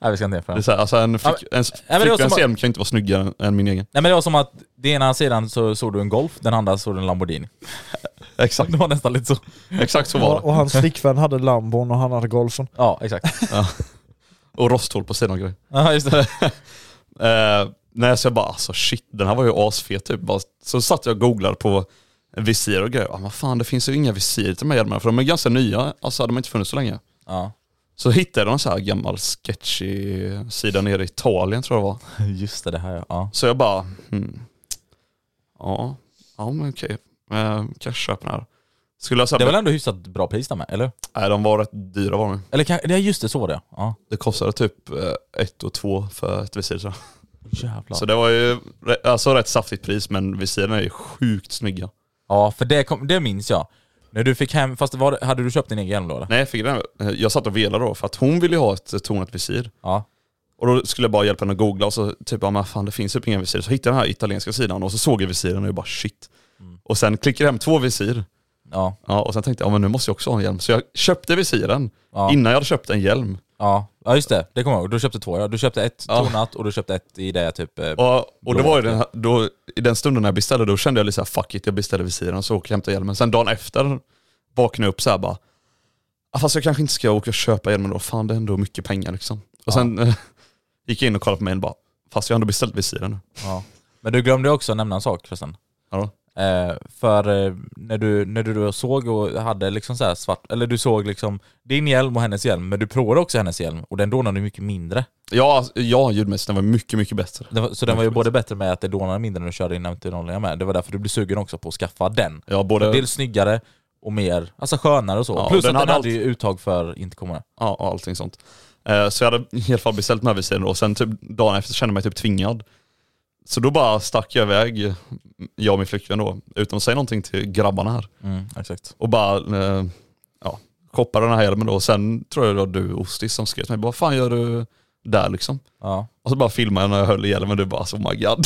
S2: Nej vi ska inte jämföra.
S3: Det är så här, alltså en, flick, en
S2: men det var som
S3: flickväns
S2: att-
S3: hjälm kan ju inte vara snyggare än- än min egen.
S2: Nej men det var som att den ena sidan så såg du en Golf, den andra såg du en Lamborghini.
S3: Exakt.
S2: Det var nästan lite så.
S3: Exakt så var
S1: Och,
S3: det.
S1: och hans flickvän hade lambon och han hade golfen.
S2: Ja exakt.
S3: Ja. Och rosthål på sidan och grejer.
S2: Ja just det.
S3: Eh, nej, så jag bara alltså shit, den här var ju asfet typ. Bara, så satt jag och googlade på visir och grejer. Ah, vad fan, det finns ju inga visir till de här hjälmarna för de är ganska nya. Alltså de har inte funnits så länge.
S2: Ja.
S3: Så hittade jag någon så här gammal sketchy sida nere i Italien tror jag det var.
S2: Just det, det här ja. ja.
S3: Så jag bara, hmm. ja, ja men okej. Eh, kanske köper den här. Skulle jag säga,
S2: Det var väl ändå hyfsat bra pris där med, eller?
S3: nej de var rätt dyra var de ju.
S2: Eller kan, det är just det, så var det ja.
S3: Det kostade typ eh, ett och två för ett visir tror jag.
S2: Jävlar.
S3: Så det var ju re- alltså rätt saftigt pris men visirerna är ju sjukt snygga.
S2: Ja, för det, kom, det minns jag. När du fick hem, fast det var, hade du köpt din egen hjälm då eller?
S3: Nej jag fick den, eh, jag satt och velade då för att hon ville ju ha ett eh, tonat visir.
S2: Ja.
S3: Och då skulle jag bara hjälpa henne att googla och så typ, ja men fan det finns typ inga visir. Så hittade jag den här italienska sidan och så såg jag visiren och jag bara shit. Och sen klickade jag hem två visir.
S2: Mm. Ja.
S3: Ja, och sen tänkte jag, ja men nu måste jag också ha en hjälm. Så jag köpte visiren
S2: Ja.
S3: innan jag hade köpt en hjälm.
S2: Ja, ja just det. Det kommer jag ihåg. Du köpte två ja. Du köpte ett
S3: Ja.
S2: tonat och du köpte ett i det typ... eh,
S3: Och, och
S2: Blå,
S3: det var ju den,
S2: ja.
S3: här- då, i den stunden när jag beställde, då kände jag lite såhär fuck it, jag beställde visiren och så åker jag och hämtar hjälmen. Sen dagen efter vaknade jag upp såhär bara, "Ah, fast jag kanske inte ska åka och köpa hjälmen då, fan det är ändå mycket pengar liksom. Och sen eh, gick jag in och kollade på mejlen bara, fast jag har ändå beställt visiren nu.
S2: Ja. Men du glömde också nämna en sak förresten.
S3: Ja,
S2: Eh, för eh, när du, när du då såg och hade liksom så här svart, eller du såg liksom din hjälm och hennes hjälm, men du provade också hennes hjälm och den dånade ju mycket mindre.
S3: ja, alltså, ja ljudmässigt den var mycket, mycket bättre.
S2: Det var, så den var ju både bättre med att det dånade mindre när du körde in 90 med. Det var därför du blev sugen också på att skaffa den.
S3: Ja, både,
S2: Dels snyggare och mer, alltså skönare och så.
S3: Ja,
S2: Plus
S3: den
S2: att den
S3: hade
S2: hade ju
S3: allt.
S2: uttag för intercommare.
S3: ja, och allting sånt. Eh, Så jag hade i alla fall beställt den här visiren och sen typ dagen efter kände jag mig typ tvingad. Så då bara stack jag iväg, jag och min flickvän då, utan att säga någonting till grabbarna här.
S2: Mm, exakt.
S3: Och bara, eh, ja, shoppade den här hjälmen då. Och sen tror jag det var du Ostis som skrev till mig, vad fan gör du där liksom?
S2: Ja.
S3: Och så bara filmade jag när jag höll i hjälmen och du bara, alltså, oh my god.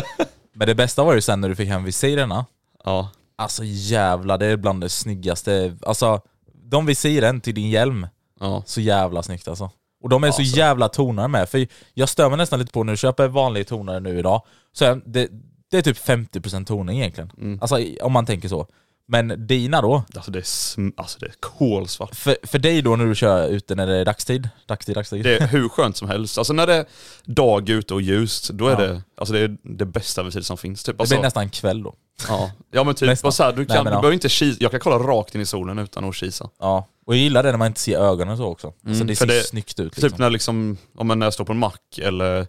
S2: Men det bästa var ju sen när du fick hem visirerna.
S3: ja,
S2: Alltså jävla det är bland det snyggaste. Alltså, de visiren till din hjälm,
S3: ja,
S2: så jävla snyggt alltså. Och de är så jävla tonare med. För jag stör mig nästan lite på när du köper vanlig tonare nu idag, så är det, det är typ 50% toning egentligen.
S3: Mm.
S2: Alltså i- om man tänker så. Men dina då,
S3: alltså det är, sm- alltså, det är kolsvart.
S2: för, för dig då när du kör ute när det är dagstid, dagstid, dagstid.
S3: Det är hur skönt som helst. Alltså när det är dag ute och ljust, då är
S2: Ja.
S3: det, alltså, det, är det bästa visiret som finns. Typ.
S2: det
S3: Alltså,
S2: blir nästan kväll då.
S3: Ja, ja men typ,
S2: Nästan.
S3: och så här, du, kan,
S2: Nej, men
S3: du
S2: ja.
S3: behöver inte kisa, jag kan kolla rakt in i solen utan att kisa.
S2: Ja, och jag gillar det när man inte ser ögonen så också. så det
S3: Mm, för
S2: ser
S3: det-
S2: snyggt ut liksom.
S3: Typ när, liksom, ja, men när jag står på en mack eller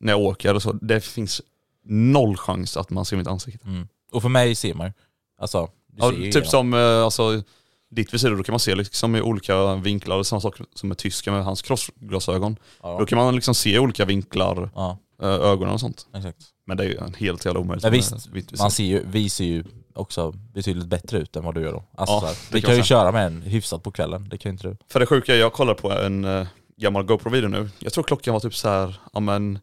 S3: när jag åker eller så, det finns noll chans att man ser mitt ansikte.
S2: mm. Och för mig ser man ju. alltså, du
S3: Ja,
S2: ser ju
S3: typ
S2: igenom.
S3: som eh, alltså, ditt visir, då kan man se liksom i olika vinklar, samma sak som med tysken med hans krossglasögon.
S2: Ja.
S3: Då kan man liksom se i olika vinklar,
S2: Ja,
S3: eh, ögonen och sånt.
S2: exakt.
S3: Men det är ju en helt jävla omöjligt.
S2: Men
S3: med
S2: visst,
S3: vitt visir.
S2: man ser ju, vi ser ju också betydligt bättre ut än vad du gör då. Alltså,
S3: Ja,
S2: så här,
S3: det
S2: vi
S3: kan
S2: kan
S3: jag
S2: ju köra med en hyfsat på kvällen, det kan ju inte du.
S3: För det sjuka är, jag kollar på en eh, gammal GoPro-video nu. Jag tror klockan var typ så här, ja men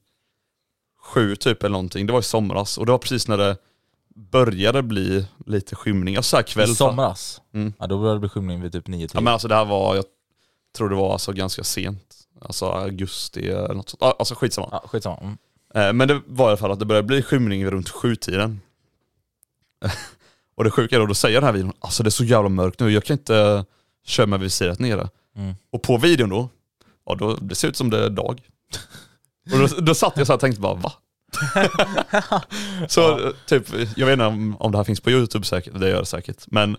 S3: sju typ eller någonting. Det var i somras och det var precis när det började bli lite skymning. Alltså så här kväll.
S2: I somras,
S3: Mm.
S2: ja, då började det bli skymning vid typ 9
S3: Ja men alltså det här var, jag tror det var alltså ganska sent. Alltså augusti eller något sånt. Ah, Alltså skitsamma.
S2: ja, skitsamma. Mm.
S3: Eh, Men det var i alla fall att det började bli skymning vid runt sjutiden. och det sjuka är då, då säger den här videon, alltså det är så jävla mörkt nu, jag kan inte eh, köra med visiret nere.
S2: Mm.
S3: Och på videon då, ja då, det ser ut som det är dag. och då, då satt jag så här och tänkte bara va? så eh, typ, jag vet inte om, om det här finns på youtube säkert, det gör det säkert. Men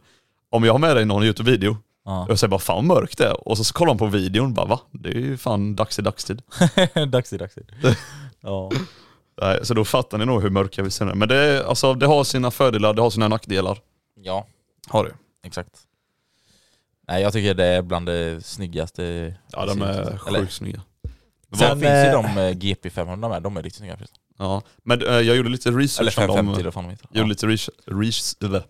S3: om jag har med dig någon youtube-video
S2: Ja.
S3: Jag säger bara fan vad mörkt det är. Och så, så kollar man på videon bara va? Det är ju fan dags i dagstid.
S2: Mm. dags i dagstid. ja.
S3: Nej, så då fattar ni nog hur mörka vi ser Men det, är- alltså, det har sina fördelar, det har sina nackdelar.
S2: Ja.
S3: Har det.
S2: Exakt. Nej jag tycker det är bland det snyggaste.
S3: Ja de är sjukt snygga.
S2: Sen
S3: Vad-
S2: finns ju de eh, GP500 med, de är riktigt snygga förresten.
S3: Ja, men eh, jag gjorde lite research
S2: Eller
S3: om
S2: 550
S3: dem.
S2: eller vad fan de heter.
S3: gjorde eh, lite res- res- eller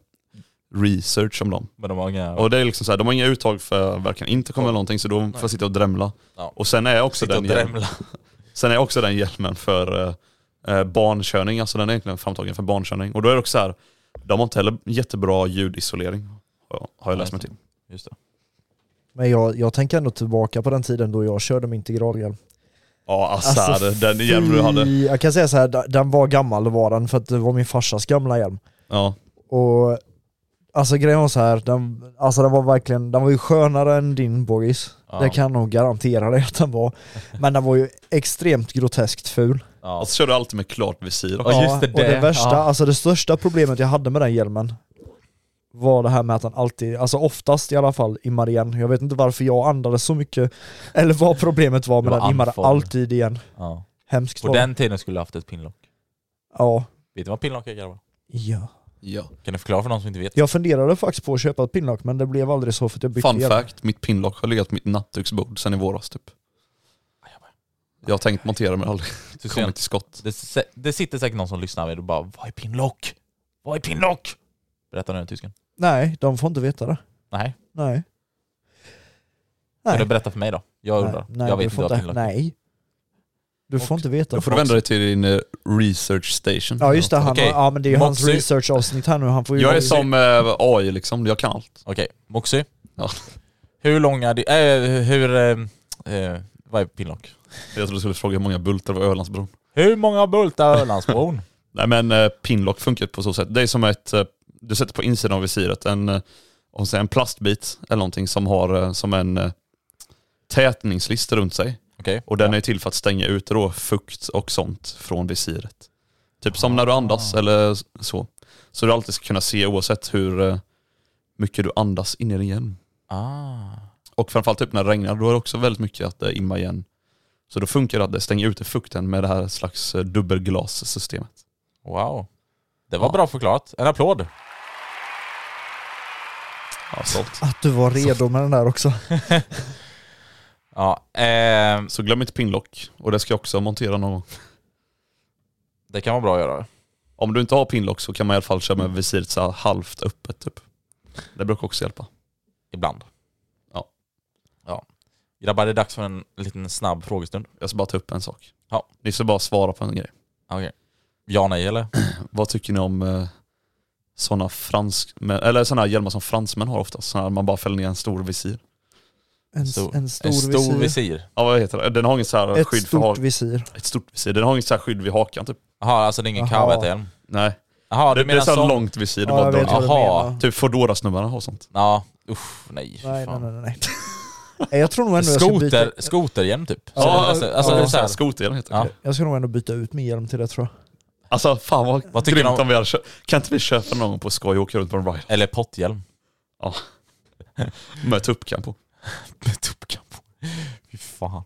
S3: research om dem.
S2: Men de har inga...
S3: Och det är liksom så här, de har inga uttag för varken intercom eller någonting så de får sitta och drämla.
S2: Ja.
S3: Och sen är också
S2: Sitta
S3: den
S2: och
S3: hjälm-
S2: drämla.
S3: Sen är också den hjälmen för eh, eh, barnkörning, alltså den är egentligen framtagen för barnkörning. Och då är det också så här, de har inte heller jättebra ljudisolering. har- Har jag läst mig till.
S2: Just det.
S1: Men jag, jag tänker ändå tillbaka på den tiden då jag körde min integralhjälm. Alltså,
S3: Ja Assad,
S2: Alltså,
S3: den
S1: fy-
S3: hjälm du hade.
S1: Jag kan säga så här, da- den var gammal var den för att det var min farsas gamla hjälm.
S3: Ja.
S1: Och alltså grejen var så här, den, alltså den var verkligen, den var ju skönare än din Bogis.
S3: Ja.
S1: Det kan jag nog garantera dig att den var. Men den var ju extremt groteskt ful.
S3: Och Alltså, så kör du alltid med klart visir också.
S1: Ja, och det värsta, alltså det största problemet jag hade med den hjälmen var det här med att den alltid, alltså oftast i alla fall, immar igen. Jag vet inte varför jag andades så mycket, eller vad problemet var,
S2: Det
S1: men
S2: var
S1: den immade
S2: andfådd.
S1: alltid igen.
S2: Ja.
S1: Hemskt
S2: På
S1: var det.
S2: den tiden skulle jag haft ett pinlock.
S1: Ja.
S2: Vet du vad pinlock är grabbar?
S1: Ja.
S3: Ja.
S2: Kan du förklara för någon som inte vet?
S1: Jag funderade faktiskt på att köpa ett pinlock, men det blev aldrig så för att jag bytte
S3: Fun
S1: hjälm.
S3: fact, mitt pinlock har legat på mitt nattduksbord sedan i våras typ. Jag har tänkt montera men aldrig
S2: Du ser-
S3: kommit till skott.
S2: Det, se- det sitter säkert någon som lyssnar och bara Vad är pinlock? Vad är pinlock? Berätta nu tysken.
S1: Nej, de får inte veta det.
S2: Nej.
S1: Nej.
S2: Kan du berätta för mig då? Jag undrar.
S1: Nej,
S2: jag
S1: du
S2: vet inte
S1: får
S2: vad
S1: inte-
S2: pinlock är.
S1: Nej. Du får inte veta.
S3: Då får du vända dig till din eh, research station.
S1: Ja just det, han,
S3: Okej.
S1: ja, men det är ju hans
S3: Moxie.
S1: research-avsnitt här nu. Han får ju
S3: Jag är som eh, AI liksom, jag kan allt.
S2: Okej, Moxie. Hur långa... di- Äh, hur... Äh, äh, vad är pinlock?
S3: Jag trodde du skulle fråga hur många bultar var Ölandsbron.
S2: Hur många bultar Ölandsbron?
S3: Nej men eh, pinlock funkar på så sätt. Det är som ett, eh, du sätter på insidan av visiret en, eh, om säger, en plastbit eller någonting som har eh, som en eh, tätningslist runt sig. Och den är till för att stänga ut då fukt och sånt från visiret. Typ som när du andas eller så. Så du alltid ska kunna se oavsett hur eh, mycket du andas in i din hjälm.
S2: Ah.
S3: Och framförallt typ när det regnar, då är det också väldigt mycket att det immar igen. Så då funkar det att det stänger ute fukten med det här slags eh, dubbelglassystemet.
S2: Wow. Det var bra förklarat. En applåd.
S3: Ja, sålt.
S1: Att du var redo med den där också.
S2: Ja, ehm,
S3: Så glöm inte pinlock. Och det ska jag också montera någon gång.
S2: Det kan vara bra att göra.
S3: Om du inte har pinlock så kan man i alla fall köra
S2: Mm.
S3: med visiret så här halvt öppet typ. Det brukar också hjälpa.
S2: Ibland.
S3: Ja.
S2: Ja. Grabbar, det är dags för en liten snabb frågestund.
S3: Jag ska bara ta upp en sak.
S2: Ja.
S3: Ni ska bara svara på en grej.
S2: Okej. Ja, nej eller?
S3: Vad tycker ni om eh, sådana fransk... men- Eller sådana här hjälmar som fransmän har oftast. Sådana här man bara fäller ner en stor visir.
S1: En,
S2: stor-
S1: en stor,
S2: en stor
S1: visir.
S2: visir.
S3: Ja vad heter det? Den har inget så här
S1: Ett
S3: skydd för
S1: stort
S3: hakan.
S1: visir.
S3: Ett stort visir. Den har inget så här skydd vid hakan typ.
S2: Jaha, alltså det är ingen
S3: Jaha.
S2: kavatätehjälm?
S3: Nej.
S2: Jaha, du
S3: det, det är
S2: menar
S3: så här
S2: sån-
S3: långt visir.
S2: Ja, jag vet vad du Jaha. menar.
S3: Typ Foodora-snubbarna har sånt.
S2: Ja, usch nej.
S1: Nej, nej, nej, nej. nej. Jag tror nog ändå jag ska byta...
S2: Skoter, skoterhjälm typ?
S1: Ja,
S2: Så det är nästan- alltså,
S1: ja.
S2: det är så här,
S3: skoterhjälm heter
S2: ja.
S1: Jag ska nog ändå byta ut min hjälm till det tror jag.
S3: Alltså fan vad,
S2: Vad tycker
S3: grymt
S2: ni
S3: om...
S2: om-
S3: vi hade kö- Kan inte vi köpa någon gång på skoj och åka runt på en ride?
S2: Eller potthjälm.
S3: Ja. Med tuppkam på.
S2: Med tuppkam på. Fy fan.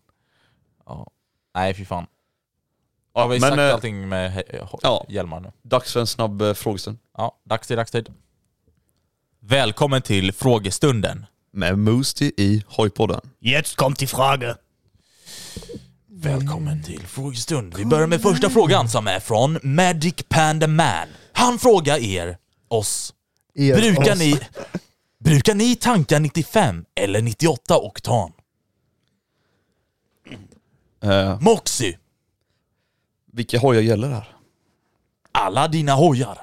S2: Ja. Nej fy fan.
S3: Ja,
S2: Har vi
S3: men,
S2: sagt
S3: eh,
S2: allting med he- ho-
S3: ja.
S2: hjälmar nu?
S3: Dags för en snabb eh, frågestund.
S2: Ja, dags till dagstid. Välkommen till frågestunden.
S3: Med Moosty i Hojpodden.
S6: Jetzt kommt die Frage.
S2: Välkommen till frågestund. Vi börjar med första frågan som är från Magic Panda Man. Han frågar er, oss,
S1: Er,
S2: brukar,
S1: oss.
S2: Ni, brukar ni tanka 95 eller 98 oktan?
S3: Uh,
S2: Moxie!
S3: Vilka hojar gäller här?
S2: Alla dina hojar.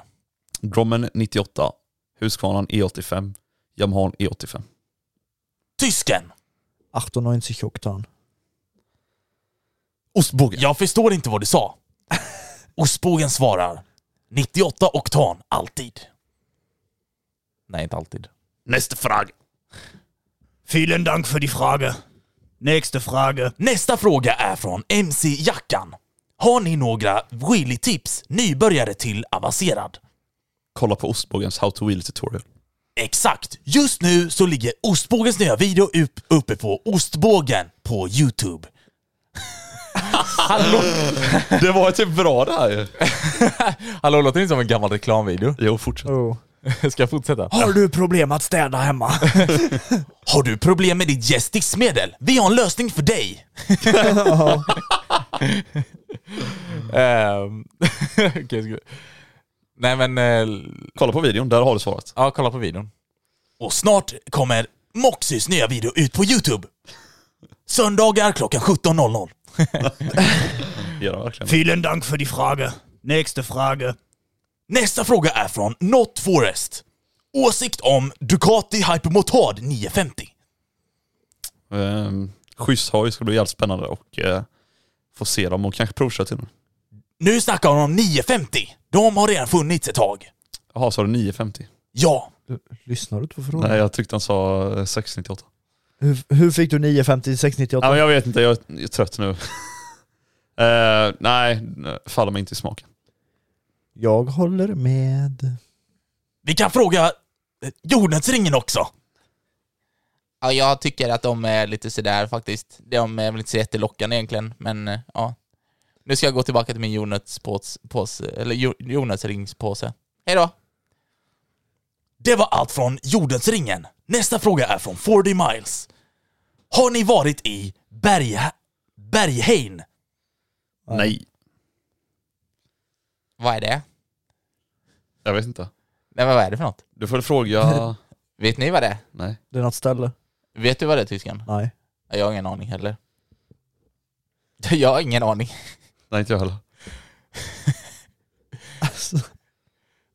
S3: Brommen 98, Husqvarnan E85, Yamaha E85.
S2: Tysken!
S1: 98 oktan.
S3: Ostbågen.
S2: Jag förstår inte vad du sa. Ostbågen svarar 98 oktan, alltid. Nej, inte alltid.
S6: Nächste Frage. Vielen Dank für die Frage. Nächste Frage.
S2: Nästa fråga är från MC Jackan. Har ni några wheelie-tips, nybörjare till avancerad?
S3: Kolla på ostbågens How to Wheel Tutorial.
S2: Exakt! Just nu så ligger Ostbågens nya video upp, uppe på Ostbågen på Youtube. Hallå!
S7: Det var typ bra det här ju. Hallå, låter det inte som en gammal reklamvideo?
S3: Jo, fortsätt.
S2: Oh.
S7: Ska jag fortsätta?
S1: Har du problem att städa hemma?
S2: Har du problem med ditt gästdiskmedel? Vi har en lösning för dig!
S7: Ehm, okej, ska vi- Nej men... eh,
S3: Kolla på videon, där har du svaret.
S7: Ja, kolla på videon.
S2: Och snart kommer Moxys nya video ut på Youtube. Söndagar klockan 17.00.
S8: Vielen Dank für die Frage. Nächste Frage.
S2: Nästa fråga är från Not Forest. Åsikt om Ducati Hypermotard 950.
S3: Ehm, schysst hoj ska bli jävligt spännande och eh, få se dem och kanske provköra till dem.
S2: Nu snackar de om 950. De har redan funnits ett tag.
S3: Jaha, sa du 950?
S2: Ja.
S1: Lyssnar du inte på frågan?
S3: Nej, jag tyckte han sa eh, 698.
S1: Hur, hur fick du 950 698?
S3: Ja, men jag vet inte, jag är trött nu. Eh, nej, faller mig inte i smaken.
S1: Jag håller med.
S2: Vi kan fråga eh, Jordnötsringen också.
S9: Ja, jag tycker att de är lite sådär faktiskt. De är väl inte så jättelockande egentligen, men eh, ja. Nu ska jag gå tillbaka till min jordnötspåse, påse- eller jord- jordnötsringspåse. Hej då!
S2: Det var allt från Jordnötsringen. Nästa fråga är från 40 Miles. Har ni varit i Berg... Berghain?
S3: Nej.
S9: Vad är det?
S3: Jag vet inte.
S9: Nej, men vad är det för något?
S3: Du får fråga...
S9: Vet ni vad det är?
S3: Nej.
S1: Det är något ställe.
S9: Vet du vad det är, tysken?
S1: Nej.
S9: Jag har ingen aning heller. Jag har ingen aning.
S3: Nej, inte jag heller.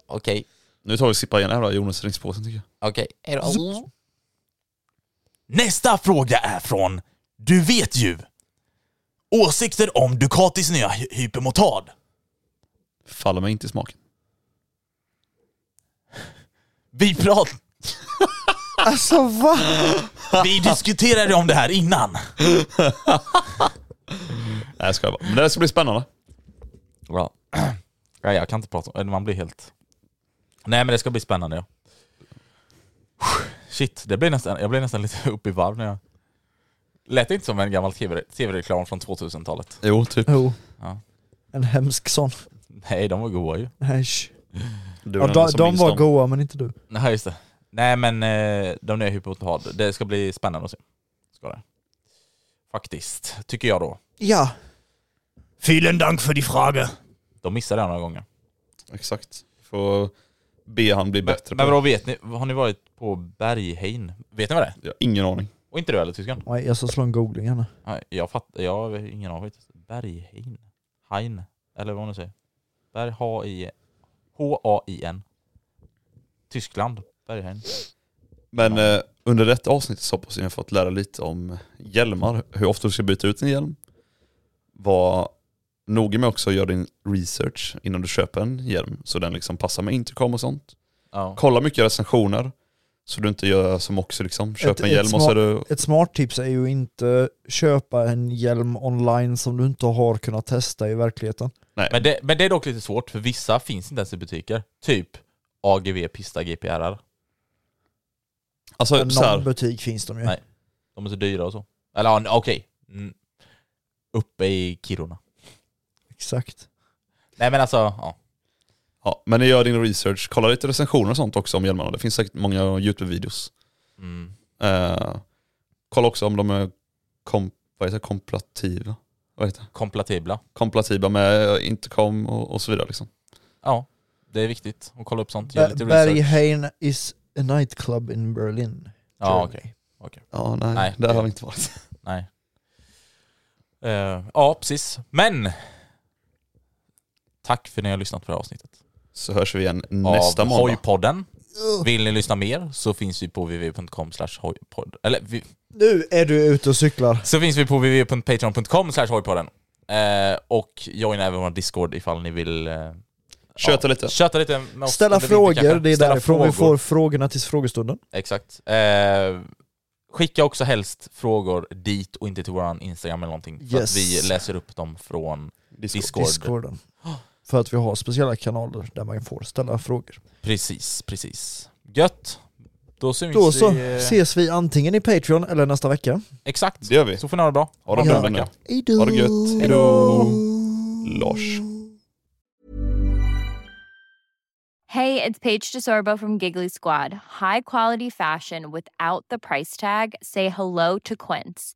S9: Okej.
S3: Nu tar vi och sippar igen här då, Jonas ringspåsen tycker jag.
S9: Okej, hej då.
S2: Nästa fråga är från Du vet ju. Åsikter om Ducatis nya hy- hypermotard.
S3: Faller mig inte i smaken.
S2: Vi pratar...
S1: Alltså va?
S2: Vi diskuterade om det här innan.
S3: Nej, jag skojar bara. Men det här ska bli spännande.
S7: Bra. Nej, jag kan inte prata om
S2: eh,
S7: eller Man blir helt...
S2: Nej men det ska bli spännande ja. Shit, det blir nästan, jag blir nästan lite upp i varv när jag... Lät det inte som en gammal TV tv-reklam från 2000-talet?
S3: Jo, typ.
S1: Jo.
S2: Ja.
S1: En hemsk sån.
S2: Nej, de var goa ju.
S1: Nej. Ja, de de var goa men inte du.
S2: Nej, just det. Nej men eh, de nya hypotad, det ska bli spännande att se. Ska det. Faktiskt, tycker jag då.
S1: Ja.
S8: Vielen Dank für die Frage.
S2: De missade det några gånger.
S3: Exakt. Får be han bli bättre.
S2: Men vadå, vet ni, har ni varit på Berghain? Vet ni vad det är?
S3: Ja, ingen aning.
S2: Och inte du heller tyskan?
S1: Nej, jag ska slå en googling här nu.
S2: Nej, jag fattar, jag har ingen aning. Berghain? Hain? Eller vad man nu säger. Berg H-I- H-A-I-N. Tyskland. Berghain.
S3: Men eh, under detta avsnitt så hoppas jag ni har fått lära lite om hjälmar. Hur ofta du ska byta ut en hjälm. Var noga med också att göra din research innan du köper en hjälm. Så den liksom passar med intercom och sånt.
S2: Ja.
S3: Kolla mycket recensioner. Så du inte gör som också liksom. Köper en hjälm och så är du...
S1: ett smart tips är ju inte köpa en hjälm online som du inte har kunnat testa i verkligheten.
S2: Men, det, men det är dock lite svårt, för vissa finns inte ens i butiker. Typ AGV Pista GPRR.
S3: Alltså,
S1: Men
S2: så här-
S1: Någon butik finns de ju.
S2: Nej. De är så dyra och så. Eller ja, okej. Mm. Uppe i Kiruna. Typ
S1: Exakt.
S2: Nej men alltså, ja.
S3: Ja, men gör din research. Kolla lite recensioner och sånt också om hjälmarna. Det finns säkert många YouTube-videos.
S2: Mm.
S3: Eh, kolla också om de är kom, vad heter det, komplativa. Vad heter det?
S2: Komplatibla.
S3: Komplatibla med intercom och, och så vidare. Liksom.
S2: Ja, det är viktigt att kolla upp sånt. Gör lite
S1: Ber-
S2: research.
S1: Berghain is a nightclub in Berlin.
S2: Ja,
S1: Germany.
S2: okej. okej.
S3: Ja, nej, där har vi inte varit.
S2: Nej. Eh, ja, precis. Men! Tack för att ni har lyssnat på det här avsnittet.
S3: Så hörs vi igen nästa
S2: Av
S3: måndag.
S2: Hojpodden. Vill ni lyssna mer så finns vi på www.com hojpodd. Eller vi,
S1: Nu är du ute och cyklar.
S2: Så finns vi på www.patreon.com hojpodden. Eh, och joina även vår Discord ifall ni vill... Eh,
S3: Köta lite.
S2: Köta lite med oss.
S1: Ställa
S2: under
S1: frågor,
S2: vintern kanske.
S1: det är
S2: Ställa
S1: därifrån vi får frågorna till frågestunden.
S2: Exakt. Eh, skicka också helst frågor dit och inte till våran Instagram eller någonting. För
S1: Yes.
S2: att vi läser upp dem från Discord.
S1: Discorden. För att vi har speciella kanaler där man får ställa frågor.
S2: Precis, precis. Gött. Då syns
S1: Då så
S2: vi... eh,
S1: ses vi antingen i Patreon eller nästa vecka.
S2: Exakt.
S3: Det gör vi.
S2: Så får ni ha det bra.
S3: Ha det
S2: Ja.
S3: bra ja.
S1: Hejdå.
S3: Ha det gött. Hejdå. Lars.
S10: Hey, it's Paige DeSorbo from Giggly Squad. High quality fashion without the price tag. Say hello to Quince.